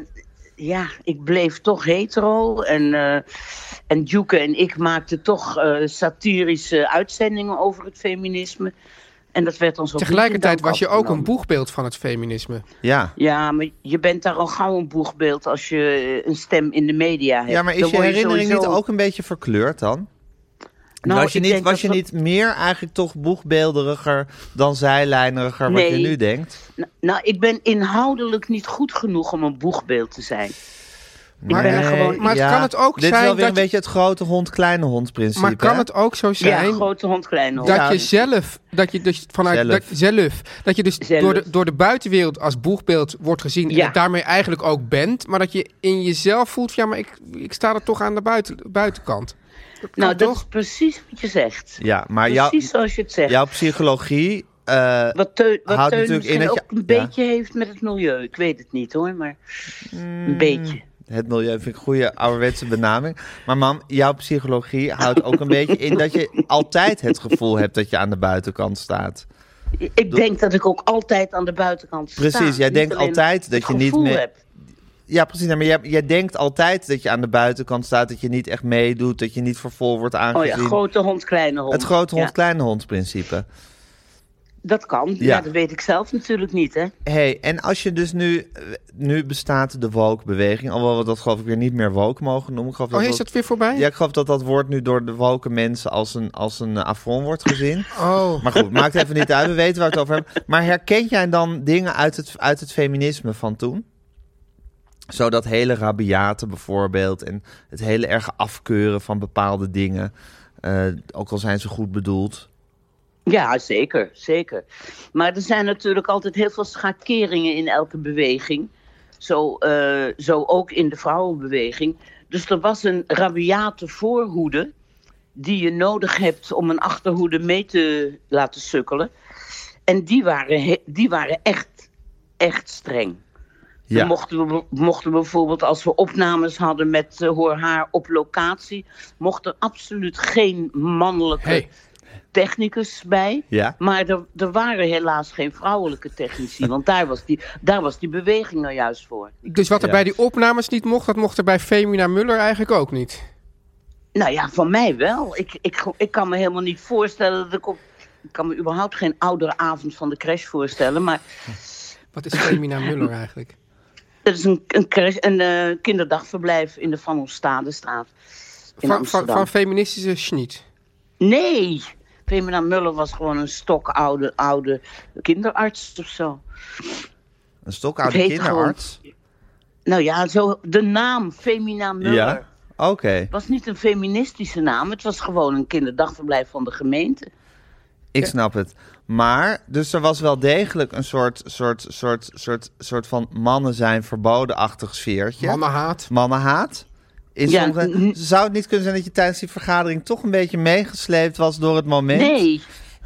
[SPEAKER 8] ja, ik bleef toch hetero. En, eh en Duke en ik maakten toch eh, satirische uitzendingen over het feminisme. En dat werd ons ook niet in
[SPEAKER 4] Tegelijkertijd
[SPEAKER 8] dank
[SPEAKER 4] was je ook een
[SPEAKER 8] afgenomen.
[SPEAKER 4] boegbeeld van het feminisme.
[SPEAKER 3] Ja.
[SPEAKER 8] Ja, maar je bent daar al gauw een boegbeeld als je eh, een stem in de media hebt.
[SPEAKER 3] Ja, maar
[SPEAKER 8] Dan
[SPEAKER 3] is je
[SPEAKER 8] word
[SPEAKER 3] herinnering niet
[SPEAKER 8] sowieso-
[SPEAKER 3] ook een beetje verkleurd dan?
[SPEAKER 8] Nou,
[SPEAKER 3] was je,
[SPEAKER 8] ik
[SPEAKER 3] niet,
[SPEAKER 8] denk
[SPEAKER 3] was
[SPEAKER 8] dat
[SPEAKER 3] je
[SPEAKER 8] we-
[SPEAKER 3] niet meer eigenlijk toch boegbeelderiger dan zijlijneriger wat
[SPEAKER 8] Nee.
[SPEAKER 3] je nu denkt?
[SPEAKER 8] Nou, Nou, ik ben inhoudelijk niet goed genoeg om een boegbeeld te zijn.
[SPEAKER 3] Maar,
[SPEAKER 8] ben er gewoon-
[SPEAKER 4] maar het kan het ook
[SPEAKER 3] Dit is
[SPEAKER 4] zijn
[SPEAKER 3] wel weer
[SPEAKER 4] dat
[SPEAKER 3] een
[SPEAKER 4] je-
[SPEAKER 3] beetje het grote hond-kleine hond principe.
[SPEAKER 4] Maar kan
[SPEAKER 3] hè?
[SPEAKER 4] het ook zo
[SPEAKER 8] ja,
[SPEAKER 4] zijn
[SPEAKER 8] grote hond, kleine hond.
[SPEAKER 4] dat je zelf, dat je dus vanuit
[SPEAKER 3] Zelf.
[SPEAKER 4] zelf, dat, zelf, dat je dus
[SPEAKER 8] Zelf.
[SPEAKER 4] Door, de, door de buitenwereld als boegbeeld wordt gezien en
[SPEAKER 8] Ja.
[SPEAKER 4] het daarmee eigenlijk ook bent, maar dat je in jezelf voelt, ja, maar ik, ik sta er toch aan de buiten, buitenkant.
[SPEAKER 8] nou,
[SPEAKER 4] kan
[SPEAKER 8] dat
[SPEAKER 4] toch?
[SPEAKER 8] is precies wat je zegt.
[SPEAKER 3] Ja, maar jouw,
[SPEAKER 8] precies zoals je het zegt.
[SPEAKER 3] jouw psychologie... eh,
[SPEAKER 8] wat Teun, wat
[SPEAKER 3] houdt
[SPEAKER 8] Teun
[SPEAKER 3] natuurlijk in
[SPEAKER 8] misschien
[SPEAKER 3] dat
[SPEAKER 8] ook
[SPEAKER 3] je-
[SPEAKER 8] een
[SPEAKER 3] ja.
[SPEAKER 8] beetje heeft met het milieu. Ik weet het niet hoor, maar
[SPEAKER 3] Mm.
[SPEAKER 8] een beetje.
[SPEAKER 3] Het milieu vind ik een goede ouderwetse benaming. Maar mam, jouw psychologie houdt ook een beetje in dat je altijd het gevoel hebt dat je aan de buitenkant staat.
[SPEAKER 8] Ik denk dat ik ook altijd aan de buitenkant sta.
[SPEAKER 3] Precies, jij
[SPEAKER 8] Niet
[SPEAKER 3] denkt
[SPEAKER 8] alleen
[SPEAKER 3] altijd dat
[SPEAKER 8] het
[SPEAKER 3] je niet
[SPEAKER 8] gevoel
[SPEAKER 3] meer-
[SPEAKER 8] hebt.
[SPEAKER 3] Ja, precies. Nou, maar jij, jij denkt altijd dat je aan de buitenkant staat, dat je niet echt meedoet, dat je niet voor vol wordt
[SPEAKER 8] Oh ja,
[SPEAKER 3] aangezien.
[SPEAKER 8] grote hond, kleine hond.
[SPEAKER 3] het grote
[SPEAKER 8] Ja,
[SPEAKER 3] hond-kleine hond principe.
[SPEAKER 8] dat kan, ja.
[SPEAKER 3] Ja.
[SPEAKER 8] dat weet ik zelf natuurlijk niet hè.
[SPEAKER 3] hey, en als je dus nu... Nu bestaat de woke-beweging, alhoewel we dat geloof ik weer niet meer woke mogen noemen. Ik geloof
[SPEAKER 4] Oh,
[SPEAKER 3] dat
[SPEAKER 4] is dat weer voorbij?
[SPEAKER 3] Ja, ik geloof dat dat woord nu door de woke mensen als een, als een eh, affront wordt gezien.
[SPEAKER 4] Oh,
[SPEAKER 3] Maar goed, maakt even niet uit. We weten waar we het over hebben. Maar herken jij dan dingen uit het, uit het feminisme van toen? Zo dat hele rabiate bijvoorbeeld. En het hele erg afkeuren van bepaalde dingen. eh, ook al zijn ze goed bedoeld.
[SPEAKER 8] Ja, zeker, zeker. Maar er zijn natuurlijk altijd heel veel schakeringen in elke beweging. Zo, eh, zo ook in de vrouwenbeweging. Dus er was een rabiate voorhoede die je nodig hebt om een achterhoede mee te laten sukkelen. En die waren, he- die waren echt, echt streng. Dan mochten we, mochten we bijvoorbeeld, als we opnames hadden met eh, Hoor Haar op locatie, mocht er absoluut geen mannelijke
[SPEAKER 4] Hey.
[SPEAKER 8] technicus bij.
[SPEAKER 3] Ja.
[SPEAKER 8] Maar er, er waren helaas geen vrouwelijke technici, want daar was, die, daar was die beweging nou juist voor.
[SPEAKER 4] dus wat er
[SPEAKER 3] Ja.
[SPEAKER 4] bij die opnames niet mocht, dat mocht er bij Femina Muller eigenlijk ook niet.
[SPEAKER 8] Nou ja, van mij wel. Ik, ik, ik kan me helemaal niet voorstellen dat ik op Ik kan me überhaupt geen ouderavond van de crash voorstellen. Maar
[SPEAKER 4] Wat is Femina
[SPEAKER 8] [LAUGHS]
[SPEAKER 4] Muller eigenlijk?
[SPEAKER 8] het is een, een, crash, een eh, kinderdagverblijf in de Van Holstadestraat in
[SPEAKER 4] Van, van,
[SPEAKER 8] Amsterdam.
[SPEAKER 4] van feministische schniet.
[SPEAKER 8] Nee, Femina Muller was gewoon een stokoude oude kinderarts of zo.
[SPEAKER 3] Een stokoude
[SPEAKER 8] Het heet
[SPEAKER 3] kinderarts.
[SPEAKER 8] Nou ja, zo, de naam Femina Muller
[SPEAKER 3] Ja. Oké.
[SPEAKER 8] was niet een feministische naam. Het was gewoon een kinderdagverblijf van de gemeente.
[SPEAKER 3] Ik snap het. Maar, dus er was wel degelijk een soort, soort, soort, soort, soort van mannen zijn verboden-achtig sfeertje.
[SPEAKER 4] Mannenhaat.
[SPEAKER 3] Mannenhaat. Is
[SPEAKER 8] Ja,
[SPEAKER 3] sommige-
[SPEAKER 8] n- n-
[SPEAKER 3] Zou het niet kunnen zijn dat je tijdens die vergadering toch een beetje meegesleept was door het moment?
[SPEAKER 8] Nee,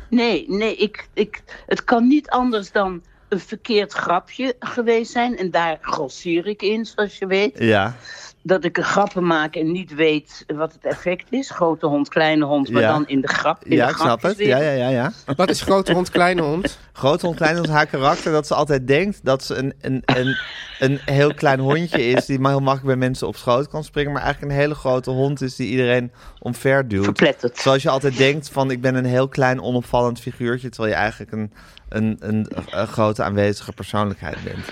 [SPEAKER 8] nee, nee. Ik, ik, het kan niet anders dan een verkeerd grapje geweest zijn. En daar grossier ik in, zoals je weet.
[SPEAKER 3] Ja,
[SPEAKER 8] Dat ik een grappen maak en niet weet wat het effect is. Grote hond, kleine hond, maar
[SPEAKER 3] Ja.
[SPEAKER 8] dan in de grap. In
[SPEAKER 3] ja
[SPEAKER 8] de
[SPEAKER 3] ik snap het. Ja,
[SPEAKER 8] grapjeswereld.
[SPEAKER 3] ja, ja, ja.
[SPEAKER 4] Wat is grote hond, kleine hond?
[SPEAKER 3] Groot hond, klein hond, haar karakter dat ze altijd denkt dat ze een, een, een, een heel klein hondje is die maar heel makkelijk bij mensen op schoot kan springen, maar eigenlijk een hele grote hond is die iedereen omver duwt.
[SPEAKER 8] Verpletterd.
[SPEAKER 3] Zoals je altijd denkt van ik ben een heel klein onopvallend figuurtje, terwijl je eigenlijk een, een, een, een grote aanwezige persoonlijkheid bent.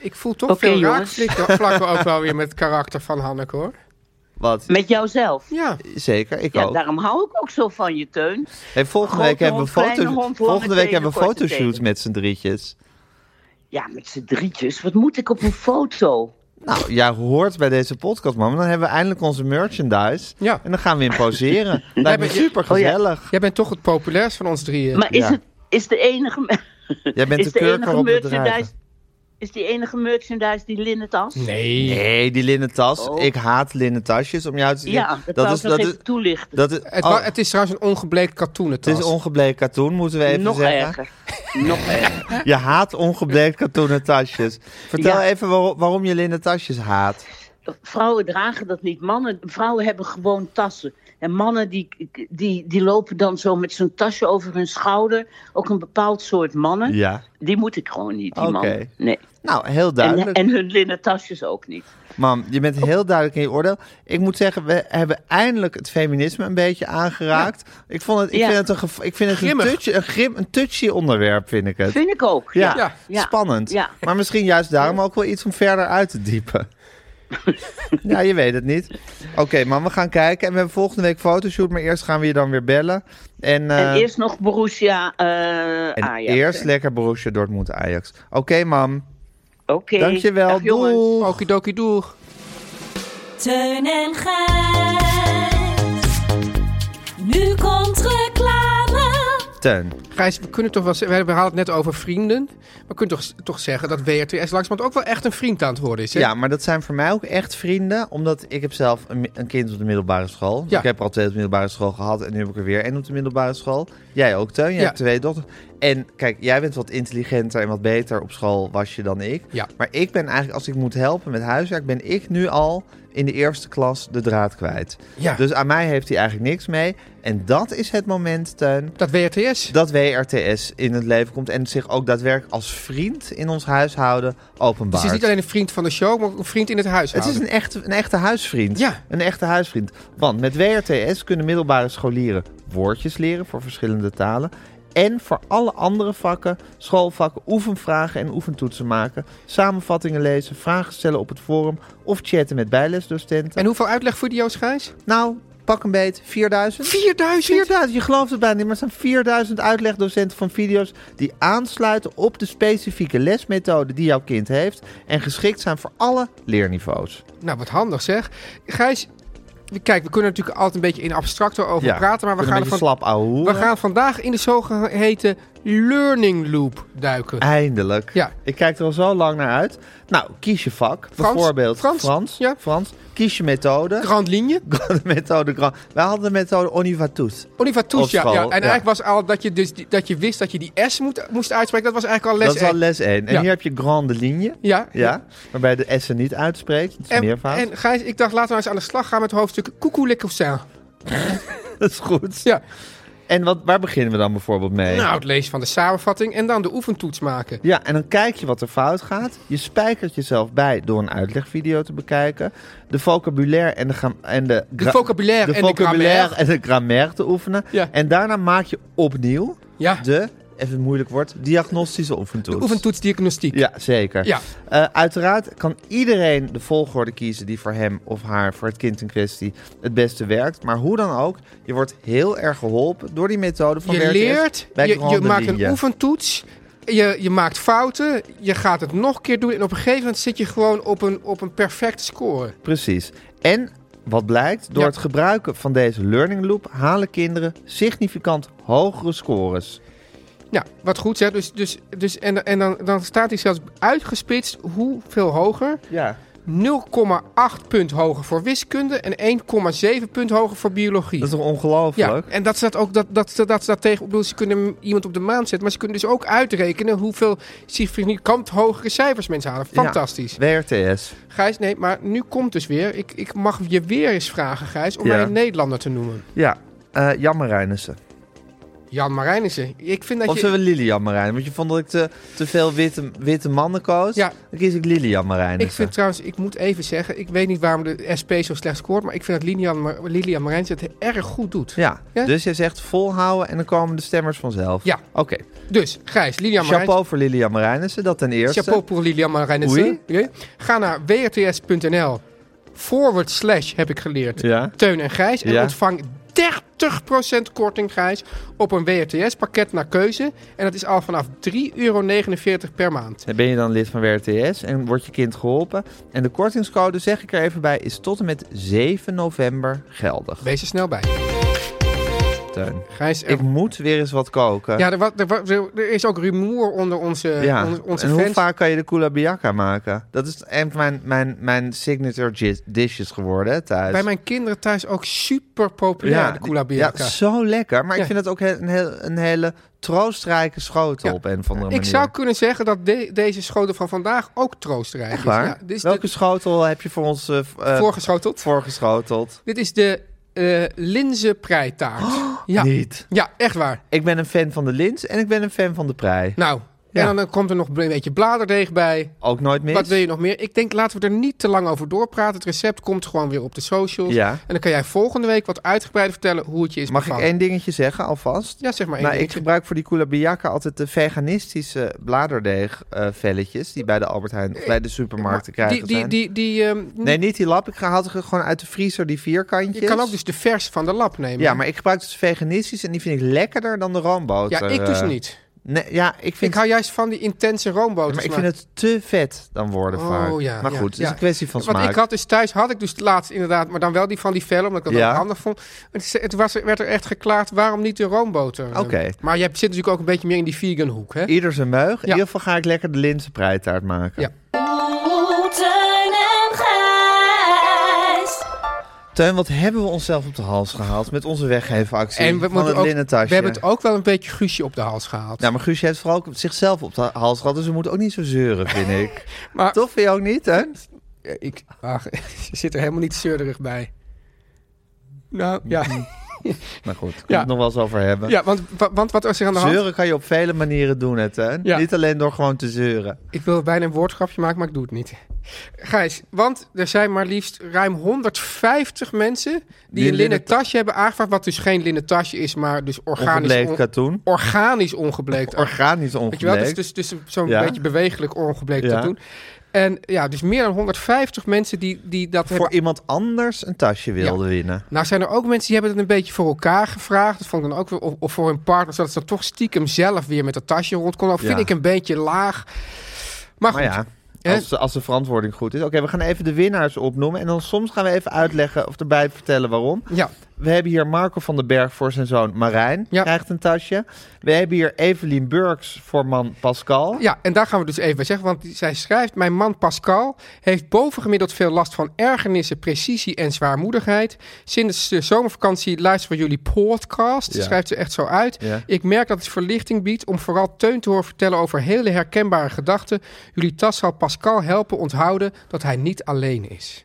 [SPEAKER 4] Ik voel toch
[SPEAKER 8] Oké,
[SPEAKER 4] veel
[SPEAKER 8] jongens. [LAUGHS]
[SPEAKER 4] raakvlakken vlakken ook wel weer met het karakter van Hanneke hoor.
[SPEAKER 3] Wat
[SPEAKER 8] Met jouzelf.
[SPEAKER 4] Ja,
[SPEAKER 3] zeker, ik
[SPEAKER 8] Ja,
[SPEAKER 3] ook.
[SPEAKER 8] daarom hou ik ook zo van je, Teun.
[SPEAKER 3] Hey, volgende
[SPEAKER 8] Grote
[SPEAKER 3] week hebben we
[SPEAKER 8] hond, kleine
[SPEAKER 3] foto-
[SPEAKER 8] hond, lange
[SPEAKER 3] volgende week
[SPEAKER 8] tenen,
[SPEAKER 3] hebben we
[SPEAKER 8] korte
[SPEAKER 3] fotoshoot
[SPEAKER 8] tenen.
[SPEAKER 3] met z'n drietjes.
[SPEAKER 8] Ja, met z'n drietjes. Wat moet ik op een foto?
[SPEAKER 3] Nou, jij hoort bij deze podcast, man. Dan hebben we eindelijk onze merchandise.
[SPEAKER 4] Ja.
[SPEAKER 3] En dan gaan we in
[SPEAKER 4] [LAUGHS]
[SPEAKER 3] poseren. Lijkt me
[SPEAKER 4] bent-
[SPEAKER 3] super gezellig.
[SPEAKER 4] jij bent toch het populairst van ons drieën.
[SPEAKER 8] Maar is
[SPEAKER 3] Ja.
[SPEAKER 8] het is de enige... me-
[SPEAKER 3] Jij bent
[SPEAKER 8] is
[SPEAKER 3] de kurker op de drager.
[SPEAKER 8] Is die enige merchandise die linnen tas?
[SPEAKER 4] Nee.
[SPEAKER 3] Nee, die linnen tas.
[SPEAKER 8] Oh.
[SPEAKER 3] Ik haat linnen tasjes. Om jou te zien.
[SPEAKER 8] Ja, dat, wou ik nog even toelichten.
[SPEAKER 3] dat is,
[SPEAKER 4] Het,
[SPEAKER 3] oh,
[SPEAKER 4] wa- het is trouwens een ongebleekt katoenen
[SPEAKER 3] het
[SPEAKER 4] tas.
[SPEAKER 3] is ongebleekt katoen, moeten we even
[SPEAKER 8] nog
[SPEAKER 3] zeggen.
[SPEAKER 8] erger. Nog erger.
[SPEAKER 3] Je haat ongebleekt katoenen tasjes. Vertel
[SPEAKER 8] Ja.
[SPEAKER 3] even waarom, waarom je linnen tasjes haat.
[SPEAKER 8] Vrouwen dragen dat niet. Mannen, vrouwen hebben gewoon tassen. En mannen die, die, die lopen dan zo met zo'n tasje over hun schouder. Ook een bepaald soort mannen.
[SPEAKER 3] Ja.
[SPEAKER 8] Die moet ik gewoon niet, die
[SPEAKER 3] Oké.
[SPEAKER 8] mannen. Nee.
[SPEAKER 3] Nou, heel
[SPEAKER 8] En,
[SPEAKER 3] duidelijk.
[SPEAKER 8] en hun linnen tasjes ook niet.
[SPEAKER 3] Mam, je bent heel duidelijk in je oordeel. Ik moet zeggen, we hebben eindelijk het feminisme een beetje aangeraakt. Ik, vond het, ik
[SPEAKER 8] Ja.
[SPEAKER 3] vind het een, gevo- ik vind het een,
[SPEAKER 4] Grimmig.
[SPEAKER 3] touchy, een, grim, een touchy onderwerp, vind ik het.
[SPEAKER 8] Vind ik ook.
[SPEAKER 3] Ja,
[SPEAKER 4] Ja.
[SPEAKER 8] Ja.
[SPEAKER 3] spannend.
[SPEAKER 8] Ja.
[SPEAKER 3] Maar misschien juist daarom ook wel iets om verder uit te
[SPEAKER 8] [LAUGHS]
[SPEAKER 3] diepen. ja, je weet het niet. Oké, mam, we gaan kijken. En we hebben volgende week fotoshoot, maar eerst gaan we je dan weer bellen. En, eh,
[SPEAKER 8] En eerst nog Borussia eh
[SPEAKER 3] en
[SPEAKER 8] Ajax.
[SPEAKER 3] eerst lekker Borussia Dortmund Ajax. Oké, mam.
[SPEAKER 8] Oké.
[SPEAKER 3] Dankjewel.
[SPEAKER 8] Dag, jongens.
[SPEAKER 3] Doeg.
[SPEAKER 4] Okidoki doeg.
[SPEAKER 7] Teun en Gijs. Nu komt reclame.
[SPEAKER 3] Teun.
[SPEAKER 4] Gijs, we kunnen toch wel zeggen, we hadden het net over vrienden. We kunnen toch, toch zeggen dat WRTS langzamerhand ook wel echt een vriend aan het worden is. Hè?
[SPEAKER 3] Ja, maar dat zijn voor mij ook echt vrienden. Omdat ik heb zelf een, mi- een kind op de middelbare school.
[SPEAKER 4] Ja.
[SPEAKER 3] Ik heb er al twee op de middelbare school gehad. En nu heb ik er weer één op de middelbare school. Jij ook, Teun. Jij
[SPEAKER 4] Ja.
[SPEAKER 3] hebt twee dochters. En kijk, jij bent wat intelligenter en wat beter op school was je dan ik.
[SPEAKER 4] Ja.
[SPEAKER 3] Maar ik ben eigenlijk, als ik moet helpen met huiswerk... ben ik nu al in de eerste klas de draad kwijt.
[SPEAKER 4] Ja.
[SPEAKER 3] Dus aan mij heeft hij eigenlijk niks mee. En dat is het moment, Teun...
[SPEAKER 4] Dat WRTS.
[SPEAKER 3] Dat WRTS in het leven komt en zich ook daadwerkelijk als vriend in ons huishouden openbaart.
[SPEAKER 4] Dus het is niet alleen een vriend van de show, maar ook een vriend in het huis.
[SPEAKER 3] Het is een echte, een echte huisvriend.
[SPEAKER 4] Ja.
[SPEAKER 3] Een echte huisvriend. Want met WRTS kunnen middelbare scholieren woordjes leren voor verschillende talen. En voor alle andere vakken, schoolvakken, oefenvragen en oefentoetsen maken. Samenvattingen lezen, vragen stellen op het forum of chatten met bijlesdocenten.
[SPEAKER 4] En hoeveel uitlegvideo's, Gijs?
[SPEAKER 3] Nou, pak een beet, 4000?
[SPEAKER 4] 4000?
[SPEAKER 3] 4000, je gelooft het bijna niet, maar er zijn 4000 uitlegdocenten van video's die aansluiten op de specifieke lesmethode die jouw kind heeft en geschikt zijn voor alle leerniveaus.
[SPEAKER 4] Nou, wat handig zeg. Gijs, we- kijk, we kunnen natuurlijk altijd een beetje in abstracto over praten, maar we
[SPEAKER 3] kunnen
[SPEAKER 4] gaan,
[SPEAKER 3] een beetje
[SPEAKER 4] van,
[SPEAKER 3] slap ouwe
[SPEAKER 4] we
[SPEAKER 3] hoeren.
[SPEAKER 4] gaan vandaag in de zogeheten learning loop
[SPEAKER 3] Ah.
[SPEAKER 4] duiken.
[SPEAKER 3] Eindelijk.
[SPEAKER 4] Ja.
[SPEAKER 3] Ik kijk er al zo lang naar uit. Nou, kies je vak. Bijvoorbeeld
[SPEAKER 4] Frans.
[SPEAKER 3] Frans.
[SPEAKER 4] Ja.
[SPEAKER 3] Frans. Kies je [LAUGHS] methode.
[SPEAKER 4] Grand linie.
[SPEAKER 3] De methode Grand. Wij hadden de methode Onivatus.
[SPEAKER 4] Oliva
[SPEAKER 3] Op
[SPEAKER 4] Touche, ja,
[SPEAKER 3] school,
[SPEAKER 4] ja. En
[SPEAKER 3] ja.
[SPEAKER 4] eigenlijk was al dat je, dus, die- dat je wist dat je die S moet, moest uitspreken. Dat was eigenlijk al les
[SPEAKER 3] dat is al
[SPEAKER 4] één.
[SPEAKER 3] les 1. En
[SPEAKER 4] Ja.
[SPEAKER 3] hier heb je grande linie.
[SPEAKER 4] Ja.
[SPEAKER 3] Ja. Waarbij de S niet uitspreekt. Het is
[SPEAKER 4] En,
[SPEAKER 3] meervoud. [LAUGHS]
[SPEAKER 4] en Gijs, ik dacht laten we eens aan de slag gaan met hoofdstuk Coucou les coussins.
[SPEAKER 3] dat is goed.
[SPEAKER 4] Ja.
[SPEAKER 3] En wat, waar beginnen we dan bijvoorbeeld mee?
[SPEAKER 4] Nou, het lezen van de samenvatting en dan de oefentoets maken.
[SPEAKER 3] Ja, en dan kijk je wat er fout gaat. Je spijkert jezelf bij door een uitlegvideo te bekijken. De vocabulaire en de, gra- en de,
[SPEAKER 4] De
[SPEAKER 3] gra-
[SPEAKER 4] vocabulaire en de
[SPEAKER 3] vocabulaire
[SPEAKER 4] grammaire.
[SPEAKER 3] en de grammaire te oefenen.
[SPEAKER 4] Ja.
[SPEAKER 3] En daarna maak je opnieuw
[SPEAKER 4] Ja, de
[SPEAKER 3] de, even een moeilijk woord, diagnostische oefentoets.
[SPEAKER 4] oefentoets diagnostiek.
[SPEAKER 3] Ja, zeker.
[SPEAKER 4] Ja.
[SPEAKER 3] Eh, uiteraard kan iedereen de volgorde kiezen die voor hem of haar, voor het kind in kwestie, het beste werkt. Maar hoe dan ook, je wordt heel erg geholpen door die methode van
[SPEAKER 4] Je
[SPEAKER 3] WRTS
[SPEAKER 4] leert,
[SPEAKER 3] bij
[SPEAKER 4] je, je
[SPEAKER 3] Grand
[SPEAKER 4] maakt
[SPEAKER 3] Linie.
[SPEAKER 4] een oefentoets, je, je maakt fouten, je gaat het nog een keer doen en op een gegeven moment zit je gewoon op een, op een perfecte score.
[SPEAKER 3] Precies. En wat blijkt, door
[SPEAKER 4] Ja.
[SPEAKER 3] het gebruiken van deze learning loop halen kinderen significant hogere scores.
[SPEAKER 4] Ja, wat goed zeg. Dus, dus, dus, en en dan, dan staat hij zelfs uitgespitst hoeveel hoger.
[SPEAKER 3] Ja.
[SPEAKER 4] 0,8 punt hoger voor wiskunde en 1,7 punt hoger voor biologie.
[SPEAKER 3] Dat is toch
[SPEAKER 4] ja,
[SPEAKER 3] ongelooflijk?
[SPEAKER 4] en dat staat ook dat, dat, dat, dat staat tegen. Ik bedoel, ze kunnen iemand op de maan zetten, maar ze kunnen dus ook uitrekenen hoeveel significant hogere cijfers mensen halen. Fantastisch.
[SPEAKER 3] WRTS.
[SPEAKER 4] Gijs, nee, maar nu komt dus weer. Ik, ik mag je weer eens vragen, Gijs, om
[SPEAKER 3] Ja.
[SPEAKER 4] mij een Nederlander te noemen.
[SPEAKER 3] Ja. Eh Jan Marijnissen.
[SPEAKER 4] Jan Marijnissen. Ik vind dat
[SPEAKER 3] Of
[SPEAKER 4] je...
[SPEAKER 3] zullen we Lilian Marijnissen? Want je vond dat ik te, te veel witte, witte mannen koos.
[SPEAKER 4] Ja.
[SPEAKER 3] Dan kies ik Lilian Marijnissen.
[SPEAKER 4] Ik vind trouwens, ik moet even zeggen, ik weet niet waarom de SP zo slecht scoort, maar ik vind dat Lilian, Mar Lilian Marijnissen het erg goed doet.
[SPEAKER 3] Ja.
[SPEAKER 4] Ja?
[SPEAKER 3] Dus jij zegt volhouden en dan komen de stemmers vanzelf.
[SPEAKER 4] Ja.
[SPEAKER 3] Oké.
[SPEAKER 4] Dus, Gijs, Lilian Marijnissen.
[SPEAKER 3] Chapeau voor Lilian Marijnissen, dat ten eerste.
[SPEAKER 4] Chapeau voor Lilian Marijnissen. Oké. Ga naar wrts.nl forward slash heb ik geleerd.
[SPEAKER 3] Ja.
[SPEAKER 4] Teun en Gijs. En
[SPEAKER 3] Ja.
[SPEAKER 4] ontvang 30% korting, Gijs, op een WRTS-pakket naar keuze. En dat is al vanaf 3,49 euro per maand.
[SPEAKER 3] Dan ben je dan lid van WRTS en wordt je kind geholpen. En de kortingscode, zeg ik er even bij, is tot en met 7 november geldig.
[SPEAKER 4] Wees er snel bij.
[SPEAKER 3] Teun.
[SPEAKER 4] Gijs, er-
[SPEAKER 3] Ik moet weer eens wat koken.
[SPEAKER 4] ja, er, wa- er, wa- er- er is ook rumoer onder onze,
[SPEAKER 3] Ja.
[SPEAKER 4] onder onze
[SPEAKER 3] en
[SPEAKER 4] fans.
[SPEAKER 3] hoe vaak kan je de kulabiaka maken? Dat is een van mijn, mijn, mijn signature gis- dishes geworden hè, thuis.
[SPEAKER 4] Bij mijn kinderen thuis ook super populair, de Kula
[SPEAKER 3] die- ja,
[SPEAKER 4] Bianca.
[SPEAKER 3] zo lekker. Maar
[SPEAKER 4] Ja.
[SPEAKER 3] ik vind het ook he- een, heel- een hele troostrijke schotel
[SPEAKER 4] Ja.
[SPEAKER 3] op een of andere
[SPEAKER 4] ik
[SPEAKER 3] manier.
[SPEAKER 4] zou kunnen zeggen dat de- deze schotel van vandaag ook troostrijk
[SPEAKER 3] Echt
[SPEAKER 4] is.
[SPEAKER 3] waar?
[SPEAKER 4] Ja, dit is
[SPEAKER 3] Welke
[SPEAKER 4] de,
[SPEAKER 3] schotel heb je voor ons eh, v- eh,
[SPEAKER 4] voorgeschoteld.
[SPEAKER 3] voorgeschoteld?
[SPEAKER 4] Dit is de eh linzenpreitaart.
[SPEAKER 3] Oh,
[SPEAKER 4] ja.
[SPEAKER 3] Niet.
[SPEAKER 4] ja, echt waar.
[SPEAKER 3] Ik ben een fan van de lins en ik ben een fan van de prei.
[SPEAKER 4] Nou,
[SPEAKER 3] Ja.
[SPEAKER 4] en dan eh, komt er nog een beetje bladerdeeg bij.
[SPEAKER 3] Ook nooit mis.
[SPEAKER 4] Wat wil je nog meer? Ik denk, laten we er niet te lang over doorpraten. Het recept komt gewoon weer op de socials.
[SPEAKER 3] Ja.
[SPEAKER 4] En dan kan jij volgende week wat uitgebreider vertellen hoe het je is
[SPEAKER 3] Mag ik
[SPEAKER 4] bevallen.
[SPEAKER 3] één dingetje zeggen alvast?
[SPEAKER 4] Ja, zeg maar één
[SPEAKER 3] nou, ik
[SPEAKER 4] dingetje.
[SPEAKER 3] gebruik voor die kulabiaka altijd de veganistische bladerdeegvelletjes... die bij de Albert Heijn of bij de supermarkt te krijgen
[SPEAKER 4] Die, die,
[SPEAKER 3] zijn.
[SPEAKER 4] die, die, ehm,
[SPEAKER 3] Nee, niet die lap. Ik ga- haal ze gewoon uit de vriezer, die vierkantjes.
[SPEAKER 4] Je kan ook dus de vers van de lap nemen.
[SPEAKER 3] Ja, maar ik gebruik dus veganistisch en die vind ik lekkerder dan de
[SPEAKER 4] Ja,
[SPEAKER 3] roomboter.
[SPEAKER 4] ik dus
[SPEAKER 3] eh.
[SPEAKER 4] niet.
[SPEAKER 3] Nee, ja, ik vind,
[SPEAKER 4] Ik hou juist van die intense roomboter.
[SPEAKER 3] maar ik vind het te vet dan worden vaak.
[SPEAKER 4] ja,
[SPEAKER 3] maar
[SPEAKER 4] ja,
[SPEAKER 3] goed, het is
[SPEAKER 4] ja.
[SPEAKER 3] een kwestie van
[SPEAKER 4] Want
[SPEAKER 3] smaak.
[SPEAKER 4] ik had dus thuis, had ik dus laatst inderdaad, maar dan wel die van die vellen, omdat ik dat
[SPEAKER 3] Ja.
[SPEAKER 4] ook handig vond. Het, is- het was, werd er echt geklaard, waarom niet de roomboter? Eh,
[SPEAKER 3] Oké.
[SPEAKER 4] Maar je hebt- zit natuurlijk ook een beetje meer in die vegan hoek, hè?
[SPEAKER 3] Ieder zijn meug. In
[SPEAKER 4] Ja.
[SPEAKER 3] ieder geval ga ik lekker de linzenpreitaart maken.
[SPEAKER 4] Ja.
[SPEAKER 7] Oeh, Teun en Gijs.
[SPEAKER 3] Teun, wat hebben we onszelf op de hals gehaald met onze weggevenactie
[SPEAKER 4] En we,
[SPEAKER 3] van
[SPEAKER 4] moeten
[SPEAKER 3] het
[SPEAKER 4] ook, we
[SPEAKER 3] linnen tasje?
[SPEAKER 4] hebben het ook wel een beetje guusje op de hals gehaald.
[SPEAKER 3] Nou, maar Guusje heeft vooral ook zichzelf op de hals gehad, dus we moeten ook niet zo zeuren,
[SPEAKER 4] [LAUGHS]
[SPEAKER 3] vind ik.
[SPEAKER 4] Maar-
[SPEAKER 3] Toch vind je ook niet, hè?
[SPEAKER 4] Ja, Ik ach, [LAUGHS] ze zit er helemaal niet zeurderig bij. Nou,
[SPEAKER 3] Mm-hmm.
[SPEAKER 4] ja.
[SPEAKER 3] Maar Nou goed, daar kunnen we
[SPEAKER 4] Ja.
[SPEAKER 3] het nog wel eens over hebben.
[SPEAKER 4] ja want, wa- want wat is er aan de hand?
[SPEAKER 3] Zeuren kan je op vele manieren doen, hè, Teun?
[SPEAKER 4] Ja.
[SPEAKER 3] Niet alleen door gewoon te zeuren.
[SPEAKER 4] Ik wil bijna een woordgrapje maken, maar ik doe het niet. Gijs, want er zijn maar liefst ruim 150 mensen die
[SPEAKER 3] een
[SPEAKER 4] een linnen
[SPEAKER 3] linnen ta-
[SPEAKER 4] tasje hebben aangevraagd. Wat dus geen linnen tasje is, maar dus organisch,
[SPEAKER 3] Ongebleekt
[SPEAKER 4] on-
[SPEAKER 3] katoen.
[SPEAKER 4] organisch ongebleekt.
[SPEAKER 3] Organisch
[SPEAKER 4] Weet je wel, dus,
[SPEAKER 3] ongebleekt.
[SPEAKER 4] dus, dus zo'n
[SPEAKER 3] Ja.
[SPEAKER 4] beetje bewegelijk ongebleekt
[SPEAKER 3] Ja.
[SPEAKER 4] te doen. En ja, dus meer dan 150 mensen die, die dat
[SPEAKER 3] Voor
[SPEAKER 4] hebben.
[SPEAKER 3] iemand anders een tasje wilde winnen.
[SPEAKER 4] Nou zijn er ook mensen die hebben het een beetje voor elkaar gevraagd. Dat vond ik dan ook weer, of, of voor hun partner, zodat ze dan toch stiekem zelf weer met dat tasje rondkomen. Dat vind
[SPEAKER 3] Ja.
[SPEAKER 4] ik een beetje laag. Maar goed,
[SPEAKER 3] Maar ja, als, als de verantwoording goed is. Oké, we gaan even de winnaars opnoemen. En dan soms gaan we even uitleggen of erbij vertellen waarom.
[SPEAKER 4] ja.
[SPEAKER 3] We hebben hier Marco van den Berg voor zijn zoon Marijn.
[SPEAKER 4] Ja.
[SPEAKER 3] Krijgt een tasje. We hebben hier Evelien Burks voor man Pascal.
[SPEAKER 4] Ja, en daar gaan we dus even bij zeggen, want die- zij schrijft... Mijn man Pascal heeft bovengemiddeld veel last van ergernissen, precisie en zwaarmoedigheid. Sinds de zomervakantie luisteren we jullie podcast,
[SPEAKER 3] Ja.
[SPEAKER 4] schrijft ze echt zo uit.
[SPEAKER 3] Ja.
[SPEAKER 4] Ik merk dat het verlichting biedt om vooral Teun te horen vertellen over hele herkenbare gedachten. Jullie tas zal Pascal helpen onthouden dat hij niet alleen is.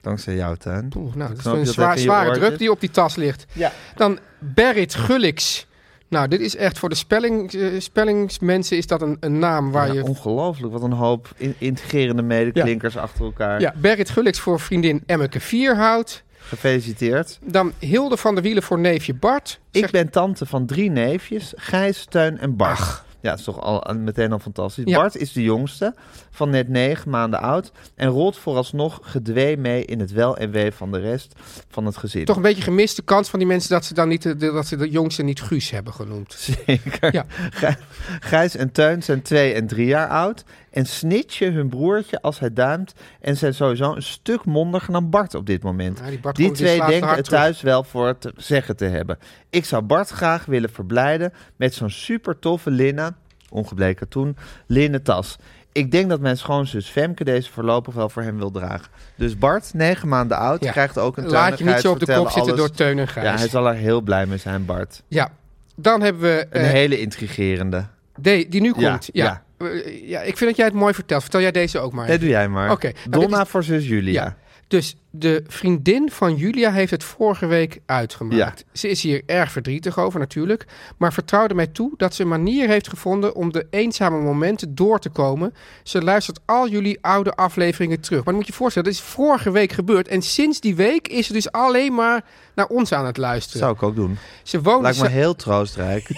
[SPEAKER 3] Dankzij jouw tuin.
[SPEAKER 4] Oeh, nou, dat is
[SPEAKER 3] Knap je
[SPEAKER 4] een
[SPEAKER 3] dat
[SPEAKER 4] zwaar,
[SPEAKER 3] even in je
[SPEAKER 4] zware
[SPEAKER 3] oortje?
[SPEAKER 4] druk die op die tas ligt.
[SPEAKER 3] Ja.
[SPEAKER 4] Dan Berit Gullix. Nou, dit is echt voor de spelling, eh, spellingsmensen is dat een, een naam waar
[SPEAKER 3] Ja,
[SPEAKER 4] je...
[SPEAKER 3] Ongelooflijk, wat een hoop in- integrerende medeklinkers achter elkaar.
[SPEAKER 4] Ja, Berit Gullix voor vriendin Emmeke Vierhout.
[SPEAKER 3] Gefeliciteerd.
[SPEAKER 4] Dan Hilde van der Wielen voor neefje Bart.
[SPEAKER 3] Ik ben tante van drie neefjes, Gijs, Teun en Bart. Ja, dat is toch al, al- meteen al fantastisch.
[SPEAKER 4] Ja.
[SPEAKER 3] Bart is de jongste, van net negen maanden oud... en rolt vooralsnog gedwee mee in het wel en wee van de rest van het gezin.
[SPEAKER 4] Toch een beetje gemist de kans van die mensen dat ze dan niet de, de- dat ze de jongste niet Guus hebben genoemd.
[SPEAKER 3] Zeker.
[SPEAKER 4] Ja.
[SPEAKER 3] Gij- Gijs en Teun zijn twee en drie jaar oud... en snitchen hun broertje als hij duimt... en zijn sowieso een stuk mondiger dan Bart op dit moment.
[SPEAKER 4] Ja, die Bart komt in
[SPEAKER 3] twee
[SPEAKER 4] slaap te
[SPEAKER 3] denken
[SPEAKER 4] hard
[SPEAKER 3] het
[SPEAKER 4] terug.
[SPEAKER 3] thuis wel voor te zeggen te hebben. Ik zou Bart graag willen verblijden... met zo'n super toffe linnen, ongebleken toen, linnen tas... Ik denk dat mijn schoonzus Femke deze voorlopig wel voor hem wil dragen. Dus Bart, negen maanden oud,
[SPEAKER 4] Ja.
[SPEAKER 3] krijgt ook een
[SPEAKER 4] Laat je niet zo op de
[SPEAKER 3] tuinigheidsvertellen,
[SPEAKER 4] kop zitten
[SPEAKER 3] alles.
[SPEAKER 4] door Teun en Gijs.
[SPEAKER 3] Ja, hij zal er heel blij mee zijn, Bart.
[SPEAKER 4] Ja. Dan hebben we
[SPEAKER 3] Een
[SPEAKER 4] eh,
[SPEAKER 3] hele intrigerende.
[SPEAKER 4] de, die nu
[SPEAKER 3] Ja,
[SPEAKER 4] komt. Ja. Eh, Ja. ik vind dat jij het mooi vertelt. Vertel jij deze ook maar.
[SPEAKER 3] Nee, doe jij maar.
[SPEAKER 4] Oké.
[SPEAKER 3] Donna voor zus Julia.
[SPEAKER 4] Ja. Dus de vriendin van Julia heeft het vorige week uitgemaakt. Ze is hier erg verdrietig over natuurlijk, maar vertrouwde mij toe dat ze een manier heeft gevonden om de eenzame momenten door te komen. Ze luistert al jullie oude afleveringen terug. Maar dan moet je je voorstellen, dat is vorige week gebeurd en sinds die week is ze dus alleen maar naar ons aan het
[SPEAKER 3] Dat
[SPEAKER 4] luisteren.
[SPEAKER 3] zou ik ook doen.
[SPEAKER 4] Ze woonde,
[SPEAKER 3] Lijkt me
[SPEAKER 4] sa-
[SPEAKER 3] heel
[SPEAKER 4] [LAUGHS]
[SPEAKER 3] troostrijk.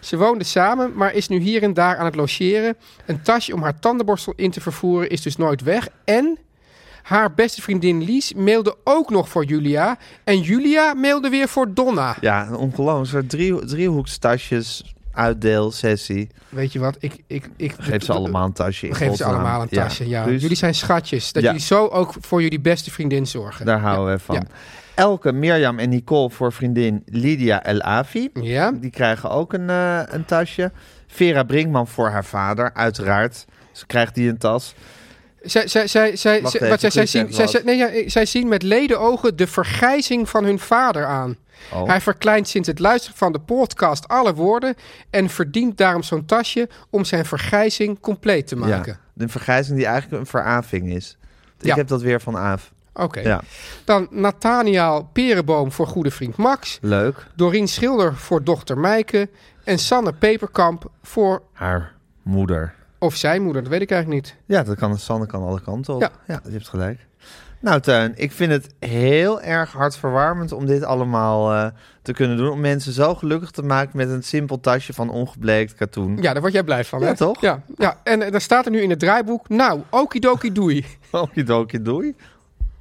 [SPEAKER 4] ze woonde samen, maar is nu hier en daar aan het logeren. Een tasje om haar tandenborstel in te vervoeren is dus nooit weg. En haar beste vriendin Lies mailde ook nog voor Julia. En Julia mailde weer voor Donna.
[SPEAKER 3] Ja, een ongelooflijk. Een soort drie, driehoekstasjes, uitdeel, sessie.
[SPEAKER 4] Weet je wat? Ik, ik, ik,
[SPEAKER 3] Geef ze allemaal een tasje. in
[SPEAKER 4] We geven ze
[SPEAKER 3] godsnaam.
[SPEAKER 4] allemaal een tasje. Ja.
[SPEAKER 3] dus
[SPEAKER 4] Jullie zijn schatjes. Dat
[SPEAKER 3] Ja.
[SPEAKER 4] jullie zo ook voor jullie beste vriendin zorgen.
[SPEAKER 3] Daar houden we van.
[SPEAKER 4] Ja.
[SPEAKER 3] Elke, Mirjam en Nicole voor vriendin Lydia El Avi.
[SPEAKER 4] Ja.
[SPEAKER 3] Die krijgen ook een, eh, een tasje. Vera Brinkman voor haar vader, uiteraard. Ze krijgt die een tas.
[SPEAKER 4] Zij, zij, zij, zij,
[SPEAKER 3] Wacht
[SPEAKER 4] zij-
[SPEAKER 3] even,
[SPEAKER 4] wat zij, zij,
[SPEAKER 3] Guus zegt
[SPEAKER 4] zien, zij,
[SPEAKER 3] wat.
[SPEAKER 4] zij- nee, ja, zij zien met leden ogen de vergrijzing van hun vader aan.
[SPEAKER 3] Oh.
[SPEAKER 4] Hij verkleint sinds het luisteren van de podcast alle woorden en verdient daarom zo'n tasje om zijn vergrijzing compleet te maken.
[SPEAKER 3] Ja, een vergrijzing die eigenlijk een veraving is. Ik
[SPEAKER 4] Ja.
[SPEAKER 3] heb dat weer van Aaf.
[SPEAKER 4] Oké.
[SPEAKER 3] Ja,
[SPEAKER 4] Dan Nathaniel Perenboom voor goede vriend Max,
[SPEAKER 3] leuk.
[SPEAKER 4] Dorien Schilder voor dochter Meike en Sanne Peperkamp voor
[SPEAKER 3] Haar moeder.
[SPEAKER 4] of zijn moeder, dat weet ik eigenlijk niet.
[SPEAKER 3] Ja, dat kan. Sanne kan alle kanten op. Ja,
[SPEAKER 4] Ja.
[SPEAKER 3] je hebt gelijk. Nou, Tuin, ik vind het heel erg hartverwarmend om dit allemaal eh, te kunnen doen. Om mensen zo gelukkig te maken met een simpel tasje van ongebleekt katoen.
[SPEAKER 4] Ja, daar word jij blij van,
[SPEAKER 3] Ja,
[SPEAKER 4] hè?
[SPEAKER 3] toch?
[SPEAKER 4] Ja, ja. en eh, daar staat er nu in het draaiboek, nou, okidoki doei.
[SPEAKER 3] [LAUGHS] Okidoki, doei.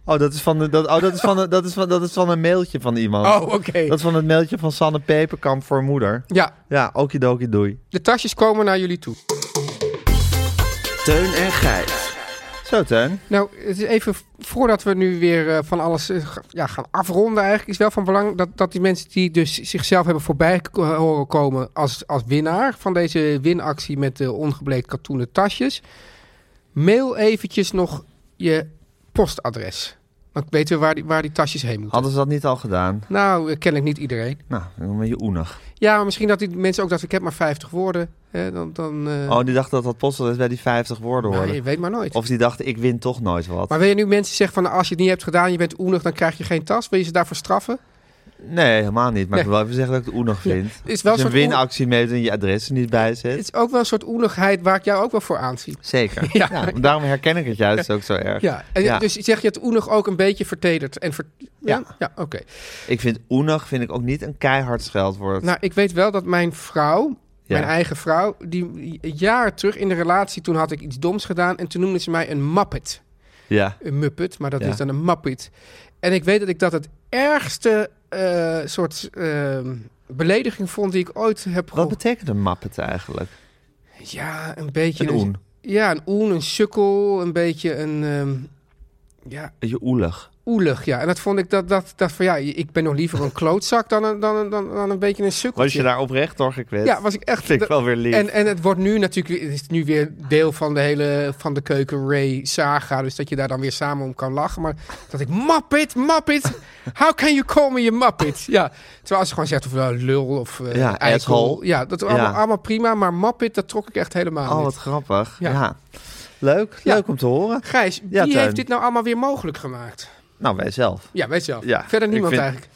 [SPEAKER 3] Oh, dat is van, de, dat, oh dat, is van de, dat, is van, dat is van een mailtje van iemand.
[SPEAKER 4] Oh, oké.
[SPEAKER 3] Dat is van het mailtje van Sanne Peperkamp voor moeder.
[SPEAKER 4] Ja,
[SPEAKER 3] Ja, okidoki, doei.
[SPEAKER 4] De tasjes komen naar jullie toe.
[SPEAKER 5] Teun en Gijs.
[SPEAKER 3] Zo, Tuin.
[SPEAKER 4] Nou, het is even voordat we nu weer eh, van alles eh, ga- ja, gaan afronden, eigenlijk is wel van belang dat, dat die mensen die dus zichzelf hebben voorbij k- horen komen als, als winnaar van deze winactie met de ongebleekt katoenen tasjes, mail eventjes nog je postadres. Dan weten we waar die, waar die tasjes heen moeten.
[SPEAKER 3] Hadden ze dat niet al gedaan?
[SPEAKER 4] Nou, eh, kennelijk niet iedereen.
[SPEAKER 3] Nou, dan ben je oenig.
[SPEAKER 4] Ja, maar misschien dat die mensen ook dat ik heb maar 50 woorden. Hè, dan, dan, eh,
[SPEAKER 3] Oh, die dacht dat dat postadres bij die 50 woorden
[SPEAKER 4] nou,
[SPEAKER 3] hoorde.
[SPEAKER 4] je weet maar nooit.
[SPEAKER 3] Of die dacht, ik win toch nooit wat.
[SPEAKER 4] Maar wil je nu mensen zeggen van nou, als je het niet hebt gedaan, je bent oenig, dan krijg je geen tas? Wil je ze daarvoor straffen?
[SPEAKER 3] Nee, helemaal niet. Maar ik
[SPEAKER 4] Nee.
[SPEAKER 3] wil wel even zeggen dat ik het oenig vind.
[SPEAKER 4] is wel
[SPEAKER 3] Als je een
[SPEAKER 4] een soort oen-
[SPEAKER 3] winactie meedoet en je adres er niet bij
[SPEAKER 4] Het
[SPEAKER 3] zit.
[SPEAKER 4] is ook wel een soort oenigheid waar ik jou ook wel voor aanzie.
[SPEAKER 3] Zeker. Ja.
[SPEAKER 4] [LAUGHS] Ja.
[SPEAKER 3] daarom herken ik het juist ook zo erg.
[SPEAKER 4] Ja, en
[SPEAKER 3] Ja.
[SPEAKER 4] dus zeg je het oenig ook een beetje vertederd. En ver-
[SPEAKER 3] Ja.
[SPEAKER 4] ja, ja oké.
[SPEAKER 3] Ik vind oenig vind ik ook niet een keihard scheldwoord.
[SPEAKER 4] Nou, ik weet wel dat mijn vrouw,
[SPEAKER 3] Ja.
[SPEAKER 4] mijn eigen vrouw, die jaren terug in de relatie, toen had ik iets doms gedaan en toen noemde ze mij een mappet.
[SPEAKER 3] ja.
[SPEAKER 4] Een muppet, maar dat
[SPEAKER 3] Ja.
[SPEAKER 4] is dan een mappet. En ik weet dat ik dat het ergste eh, soort eh, belediging vond die ik ooit heb
[SPEAKER 3] Wat
[SPEAKER 4] gehoord.
[SPEAKER 3] betekent een mappet eigenlijk?
[SPEAKER 4] Ja, een beetje...
[SPEAKER 3] Een oen.
[SPEAKER 4] Ja, een oen, een sukkel, een beetje een... ehm, ja,
[SPEAKER 3] Je oelig.
[SPEAKER 4] oelig, ja. En dat vond ik dat, dat, dat van ja, ik ben nog liever een klootzak dan een, dan, een- dan, dan een beetje een sukkeltje.
[SPEAKER 3] Was je daar oprecht door gekwetst?
[SPEAKER 4] Ja, was ik echt.
[SPEAKER 3] Vind ik wel weer lief.
[SPEAKER 4] En, en het wordt nu natuurlijk, weer- het is nu weer deel van de hele van de keuken Ray saga, dus dat je daar dan weer samen om kan lachen. Maar dat ik Muppet, Muppet, how can you call me a Muppet? Ja, terwijl als ze gewoon zegt of eh, lul of eh
[SPEAKER 3] Ja, asshole.
[SPEAKER 4] eikel, ja, dat allemaal,
[SPEAKER 3] Ja.
[SPEAKER 4] allemaal prima, maar Muppet, dat trok ik echt helemaal
[SPEAKER 3] Oh,
[SPEAKER 4] niet.
[SPEAKER 3] wat grappig. Ja.
[SPEAKER 4] Ja.
[SPEAKER 3] Leuk,
[SPEAKER 4] Ja.
[SPEAKER 3] leuk om te horen.
[SPEAKER 4] Gijs, wie
[SPEAKER 3] Ja, Teun.
[SPEAKER 4] heeft dit nou allemaal weer mogelijk gemaakt?
[SPEAKER 3] Nou, wij zelf.
[SPEAKER 4] Ja, weet je wel.
[SPEAKER 3] Ja,
[SPEAKER 4] Verder
[SPEAKER 3] ik
[SPEAKER 4] niemand
[SPEAKER 3] vind-
[SPEAKER 4] eigenlijk.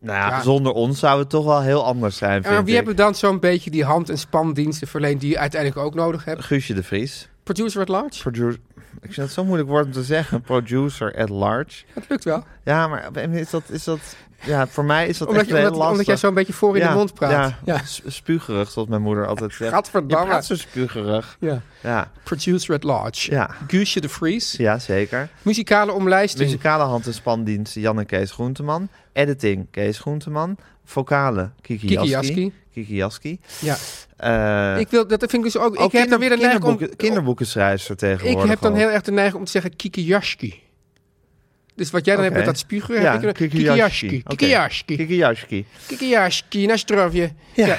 [SPEAKER 3] Nou ja,
[SPEAKER 4] Ja.
[SPEAKER 3] zonder ons zou het toch wel heel anders zijn,
[SPEAKER 4] En
[SPEAKER 3] vind
[SPEAKER 4] wie
[SPEAKER 3] ik.
[SPEAKER 4] hebben dan zo'n beetje die hand- en spandiensten verleend die je uiteindelijk ook nodig hebt?
[SPEAKER 3] Guusje de Vries.
[SPEAKER 4] Producer at large?
[SPEAKER 3] Producer... Ik vind het zo'n moeilijk woord om te zeggen. Producer at large.
[SPEAKER 4] Dat lukt wel.
[SPEAKER 3] Ja, maar op een manier is dat, is dat... Ja, voor mij is dat
[SPEAKER 4] Omdat,
[SPEAKER 3] echt
[SPEAKER 4] je,
[SPEAKER 3] heel
[SPEAKER 4] omdat,
[SPEAKER 3] lastig.
[SPEAKER 4] omdat jij zo'n beetje voor in
[SPEAKER 3] Ja,
[SPEAKER 4] de mond praat.
[SPEAKER 3] Ja, s- spuugerig, zoals mijn moeder altijd zegt.
[SPEAKER 4] Gadverdamme.
[SPEAKER 3] Je praat zo spuugerig.
[SPEAKER 4] Ja.
[SPEAKER 3] Ja,
[SPEAKER 4] Producer at large.
[SPEAKER 3] Ja.
[SPEAKER 4] Guusje de Vries.
[SPEAKER 3] ja zeker.
[SPEAKER 4] Muzikale omlijsting.
[SPEAKER 3] Muzikale hand- en spandienst Jan en Kees Groenteman. Editing Kees Groenteman. Vocale Kiki
[SPEAKER 4] Kiki
[SPEAKER 3] Jaski.
[SPEAKER 4] Jaski.
[SPEAKER 3] Kiki Jaski.
[SPEAKER 4] Ja.
[SPEAKER 3] Eh,
[SPEAKER 4] ik wil, dat vind ik dus ook.
[SPEAKER 3] ook
[SPEAKER 4] ik heb dan weer de neiging om.
[SPEAKER 3] kinderboeken, kinderboekenschrijfster
[SPEAKER 4] Ik
[SPEAKER 3] tegenwoordig.
[SPEAKER 4] heb dan
[SPEAKER 3] al.
[SPEAKER 4] heel erg de neiging om te zeggen Kikiyaski. Dus wat jij dan hebt
[SPEAKER 3] Oké.
[SPEAKER 4] met dat spugen.
[SPEAKER 3] Ja,
[SPEAKER 4] heb ik dan-
[SPEAKER 3] Kikiyaski.
[SPEAKER 4] Kikiyaski.
[SPEAKER 3] Oké.
[SPEAKER 4] Kikiyaski.
[SPEAKER 3] Kiki Jaski.
[SPEAKER 4] Kikiyaski. Naar strafje. Ja.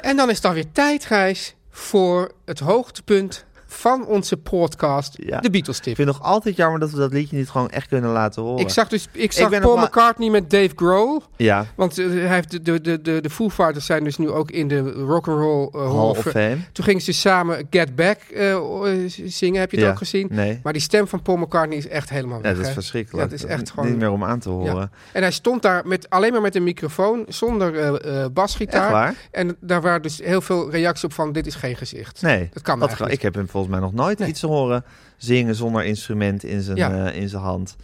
[SPEAKER 4] En dan is het dan weer tijd, Gijs, voor het hoogtepunt van onze podcast,
[SPEAKER 3] Ja.
[SPEAKER 4] de Beatles
[SPEAKER 3] Ik
[SPEAKER 4] tip.
[SPEAKER 3] vind het nog altijd jammer dat we dat liedje niet gewoon echt kunnen laten horen.
[SPEAKER 4] Ik zag, dus, ik zag
[SPEAKER 3] ben
[SPEAKER 4] Paul
[SPEAKER 3] nog maar-
[SPEAKER 4] McCartney met Dave Grohl.
[SPEAKER 3] Ja,
[SPEAKER 4] Want eh, hij heeft de, de, de, de, de Foo Fighters zijn dus nu ook in de Rock'n'Roll eh,
[SPEAKER 3] Hall of
[SPEAKER 4] Fa-
[SPEAKER 3] Fame.
[SPEAKER 4] Toen gingen ze samen Get Back eh, eh, zingen. Heb je het
[SPEAKER 3] Ja.
[SPEAKER 4] ook gezien?
[SPEAKER 3] Nee.
[SPEAKER 4] Maar die stem van Paul McCartney is echt helemaal
[SPEAKER 3] ja
[SPEAKER 4] weg.
[SPEAKER 3] dat is
[SPEAKER 4] hè?
[SPEAKER 3] verschrikkelijk.
[SPEAKER 4] Ja, het is echt
[SPEAKER 3] Niet-
[SPEAKER 4] gewoon...
[SPEAKER 3] Niet meer om aan te horen.
[SPEAKER 4] Ja. En hij stond daar met, alleen maar met een microfoon, zonder eh, eh, basgitaar.
[SPEAKER 3] Echt waar?
[SPEAKER 4] En daar waren dus heel veel reacties op van, dit is geen gezicht.
[SPEAKER 3] Nee,
[SPEAKER 4] Dat kan eigenlijk
[SPEAKER 3] Ik heb hem volgens mij nog nooit iets horen zingen zonder instrument in zijn,
[SPEAKER 4] Ja.
[SPEAKER 3] eh, in zijn hand.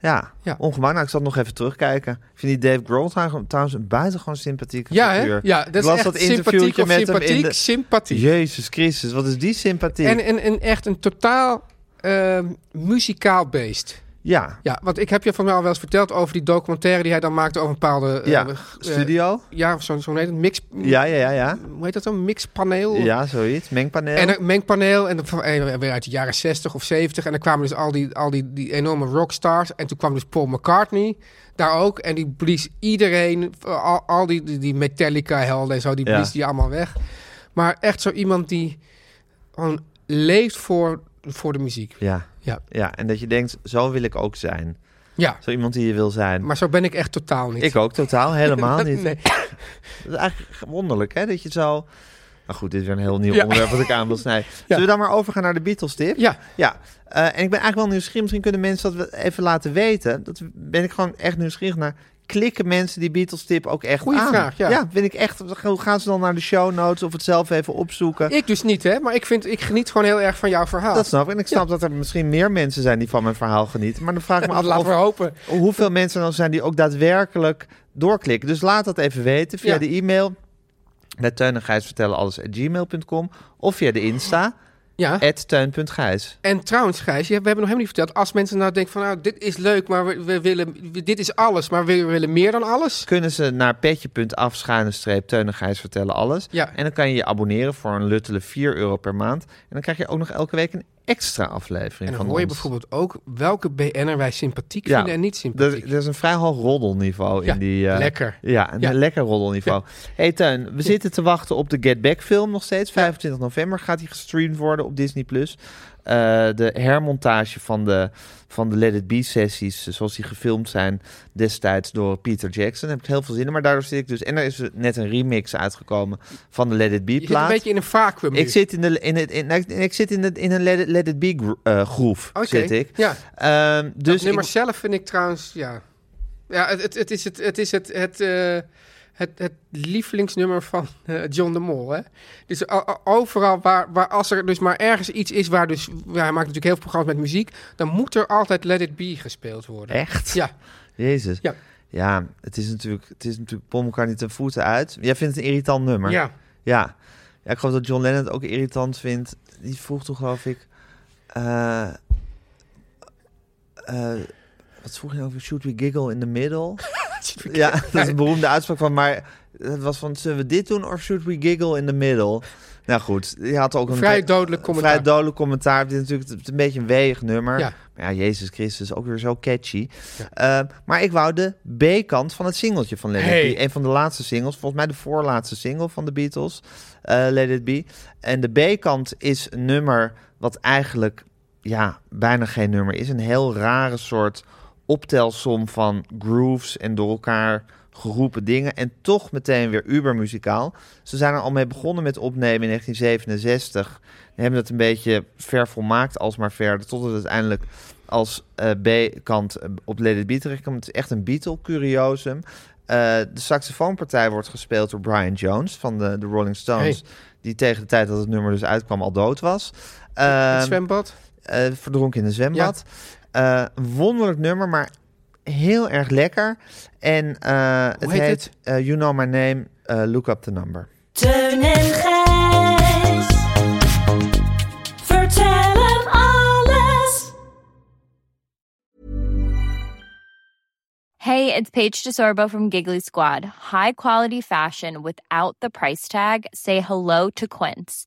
[SPEAKER 3] Ja,
[SPEAKER 4] Ja.
[SPEAKER 3] ongemakkelijk. Nou, ik zal nog even terugkijken. Ik vind die Dave Grohl trou- trouwens een buitengewoon sympathieke
[SPEAKER 4] Ja, hè?
[SPEAKER 3] figuur.
[SPEAKER 4] Ja, dat
[SPEAKER 3] Ik
[SPEAKER 4] is
[SPEAKER 3] las
[SPEAKER 4] echt
[SPEAKER 3] dat
[SPEAKER 4] sympathiek
[SPEAKER 3] interviewtje
[SPEAKER 4] of
[SPEAKER 3] met hem in
[SPEAKER 4] sympathiek,
[SPEAKER 3] de-
[SPEAKER 4] sympathiek.
[SPEAKER 3] Jezus Christus, wat is die sympathie?
[SPEAKER 4] En, en, en echt een totaal ehm, muzikaal beest.
[SPEAKER 3] ja,
[SPEAKER 4] Ja, want ik heb je van mij al wel eens verteld over die documentaire die hij dan maakte over een bepaalde... eh,
[SPEAKER 3] ja.
[SPEAKER 4] eh,
[SPEAKER 3] studio.
[SPEAKER 4] ja, of zo'n zo heet het? Mix,
[SPEAKER 3] Ja, ja, ja, ja.
[SPEAKER 4] Hoe heet dat dan? Mixpaneel?
[SPEAKER 3] Ja, zoiets. Mengpaneel.
[SPEAKER 4] En een mengpaneel, en dan van- en weer uit de jaren 60 of 70. En dan kwamen dus al die, al die, die enorme rockstars. En toen kwam dus Paul McCartney daar ook. En die blies iedereen, al, al die, die, die Metallica-helden en zo, die
[SPEAKER 3] Ja.
[SPEAKER 4] blies die allemaal weg. Maar echt zo iemand die gewoon leeft voor, voor de muziek.
[SPEAKER 3] ja.
[SPEAKER 4] Ja.
[SPEAKER 3] ja, en dat je denkt, zo wil ik ook zijn.
[SPEAKER 4] Ja,
[SPEAKER 3] Zo iemand die je wil zijn.
[SPEAKER 4] maar zo ben ik echt totaal niet.
[SPEAKER 3] ik ook totaal,
[SPEAKER 4] [LAUGHS]
[SPEAKER 3] helemaal niet.
[SPEAKER 4] Nee.
[SPEAKER 3] [LAUGHS] Dat is eigenlijk wonderlijk, hè? Dat je zo... Nou goed, dit is weer een heel nieuw
[SPEAKER 4] Ja.
[SPEAKER 3] onderwerp wat ik aan
[SPEAKER 4] [LAUGHS]
[SPEAKER 3] wil snijden. Zullen we dan maar overgaan naar de Beatles-tip?
[SPEAKER 4] Ja.
[SPEAKER 3] Ja. Eh, en ik ben eigenlijk wel nieuwsgierig. Misschien kunnen mensen dat even laten weten. Dat ben ik gewoon echt nieuwsgierig naar. Klikken mensen die Beatles-tip ook echt
[SPEAKER 4] Goeie
[SPEAKER 3] aan?
[SPEAKER 4] vraag, ja.
[SPEAKER 3] Ja, vind ik echt... Gaan ze dan naar de show notes of het zelf even opzoeken?
[SPEAKER 4] Ik dus niet, hè? Maar ik, vind, ik geniet gewoon heel erg van jouw verhaal.
[SPEAKER 3] Dat snap ik. En ik snap dat er misschien meer mensen zijn die van mijn verhaal genieten. Maar dan vraag ik me af
[SPEAKER 4] Laten
[SPEAKER 3] of-
[SPEAKER 4] we hopen.
[SPEAKER 3] hoeveel mensen dan zijn die ook daadwerkelijk doorklikken. Dus laat dat even weten via
[SPEAKER 4] Ja.
[SPEAKER 3] de e-mail. Bij Teun en Gijs vertellen alles at gmail.com. Of via de Insta,
[SPEAKER 4] Ja.
[SPEAKER 3] at teun.gijs.
[SPEAKER 4] En trouwens, Gijs, je- we hebben nog helemaal niet verteld. Als mensen nou denken van, nou, dit is leuk, maar we, we willen, we- dit is alles, maar we, willen meer dan alles.
[SPEAKER 3] Kunnen ze naar petje.af schuine streep Teun en Gijs vertellen alles.
[SPEAKER 4] Ja.
[SPEAKER 3] En dan kan je je abonneren voor een luttele 4 euro per maand. En dan krijg je ook nog elke week een extra aflevering
[SPEAKER 4] En dan
[SPEAKER 3] van
[SPEAKER 4] hoor je
[SPEAKER 3] ons.
[SPEAKER 4] bijvoorbeeld ook welke BN'er wij sympathiek
[SPEAKER 3] Ja, Dus
[SPEAKER 4] vinden en niet sympathiek.
[SPEAKER 3] Er, er is een vrij hoog roddelniveau
[SPEAKER 4] Ja,
[SPEAKER 3] in die... eh,
[SPEAKER 4] lekker.
[SPEAKER 3] Ja, een
[SPEAKER 4] Ja.
[SPEAKER 3] lekker roddelniveau. hey Teun, we zitten te wachten op de Get Back film nog steeds. 25 november gaat die gestreamd worden op Disney+. Plus. Eh, de hermontage van de, van de Let It Be sessies, eh, zoals die gefilmd zijn destijds door Peter Jackson. Daar heb ik heel veel zin in, maar daardoor zit ik dus... En er is net een remix uitgekomen van de Let It Be
[SPEAKER 4] je zit een
[SPEAKER 3] plaat.
[SPEAKER 4] beetje in een vacuüm nu.
[SPEAKER 3] Ik zit in, de, in, het, in, ik- ik zit in, het, in een Let It, Let It Be gro- eh, groove,
[SPEAKER 4] Oké,
[SPEAKER 3] zit ik.
[SPEAKER 4] Ja,
[SPEAKER 3] Ehm,
[SPEAKER 4] dus
[SPEAKER 3] dus
[SPEAKER 4] nummer
[SPEAKER 3] ik-
[SPEAKER 4] zelf vind ik trouwens, ja. Ja, het, het, het is het, het, is het, het, eh, het, het lievelingsnummer van eh, John de Mol, hè. Dus o- o- overal waar, waar, als er dus maar ergens iets is waar dus... ja, hij maakt natuurlijk heel veel programma's met muziek. Dan moet er altijd Let It Be gespeeld worden.
[SPEAKER 3] Echt?
[SPEAKER 4] Ja.
[SPEAKER 3] Jezus.
[SPEAKER 4] Ja.
[SPEAKER 3] Ja, het is natuurlijk, het is natuurlijk Paul McCartney ten voeten uit. Jij vindt het een irritant nummer.
[SPEAKER 4] Ja.
[SPEAKER 3] Ja. Ja, ik geloof dat John Lennon het ook irritant vindt. Die vroeg toen, geloof ik... eh, eh, wat vroeg je nou over? Should we giggle in the
[SPEAKER 4] [LAUGHS]
[SPEAKER 3] middle? ja, dat is een beroemde uitspraak van... Maar het was van, zullen we dit doen of should we giggle in the middle? Nou goed, je had ook een...
[SPEAKER 4] Vrij dodelijk commentaar.
[SPEAKER 3] Vrij dodelijk commentaar. Dit is natuurlijk het is een beetje een weeg nummer.
[SPEAKER 4] Ja.
[SPEAKER 3] Maar ja, Jezus Christus, ook weer zo catchy. Eh, maar ik wou de B-kant van het singeltje van Let
[SPEAKER 4] Hey.
[SPEAKER 3] It Be. Een van de laatste singles, volgens mij de voorlaatste single van de Beatles, eh Let It Be. En de B-kant is een nummer wat eigenlijk ja, bijna geen nummer is. Een heel rare soort optelsom van grooves en door elkaar geroepen dingen. En toch meteen weer ubermuzikaal. Ze zijn er al mee begonnen met opnemen in 1967. En hebben het een beetje ver volmaakt, alsmaar verder. Tot het uiteindelijk als eh, B-kant eh, op Let It Be terechtkomt. Het is echt een Beatle-curiosum. Eh, de saxofoonpartij wordt gespeeld door Brian Jones van de, de Rolling Stones.
[SPEAKER 4] Hey.
[SPEAKER 3] Die tegen de tijd dat het nummer dus uitkwam al dood was. Ehm,
[SPEAKER 4] het zwembad.
[SPEAKER 3] eh, verdronken in een zwembad. Eh, een wonderlijk nummer, maar heel erg lekker. En eh, het
[SPEAKER 4] heet
[SPEAKER 3] heet,
[SPEAKER 4] het?
[SPEAKER 3] eh, You Know My Name, eh, Look Up The Number.
[SPEAKER 7] Teun en Gijs. Vertel hem alles.
[SPEAKER 9] Hey, it's Paige DeSorbo from Giggly Squad. High quality fashion without the price tag. Say hello to Quince.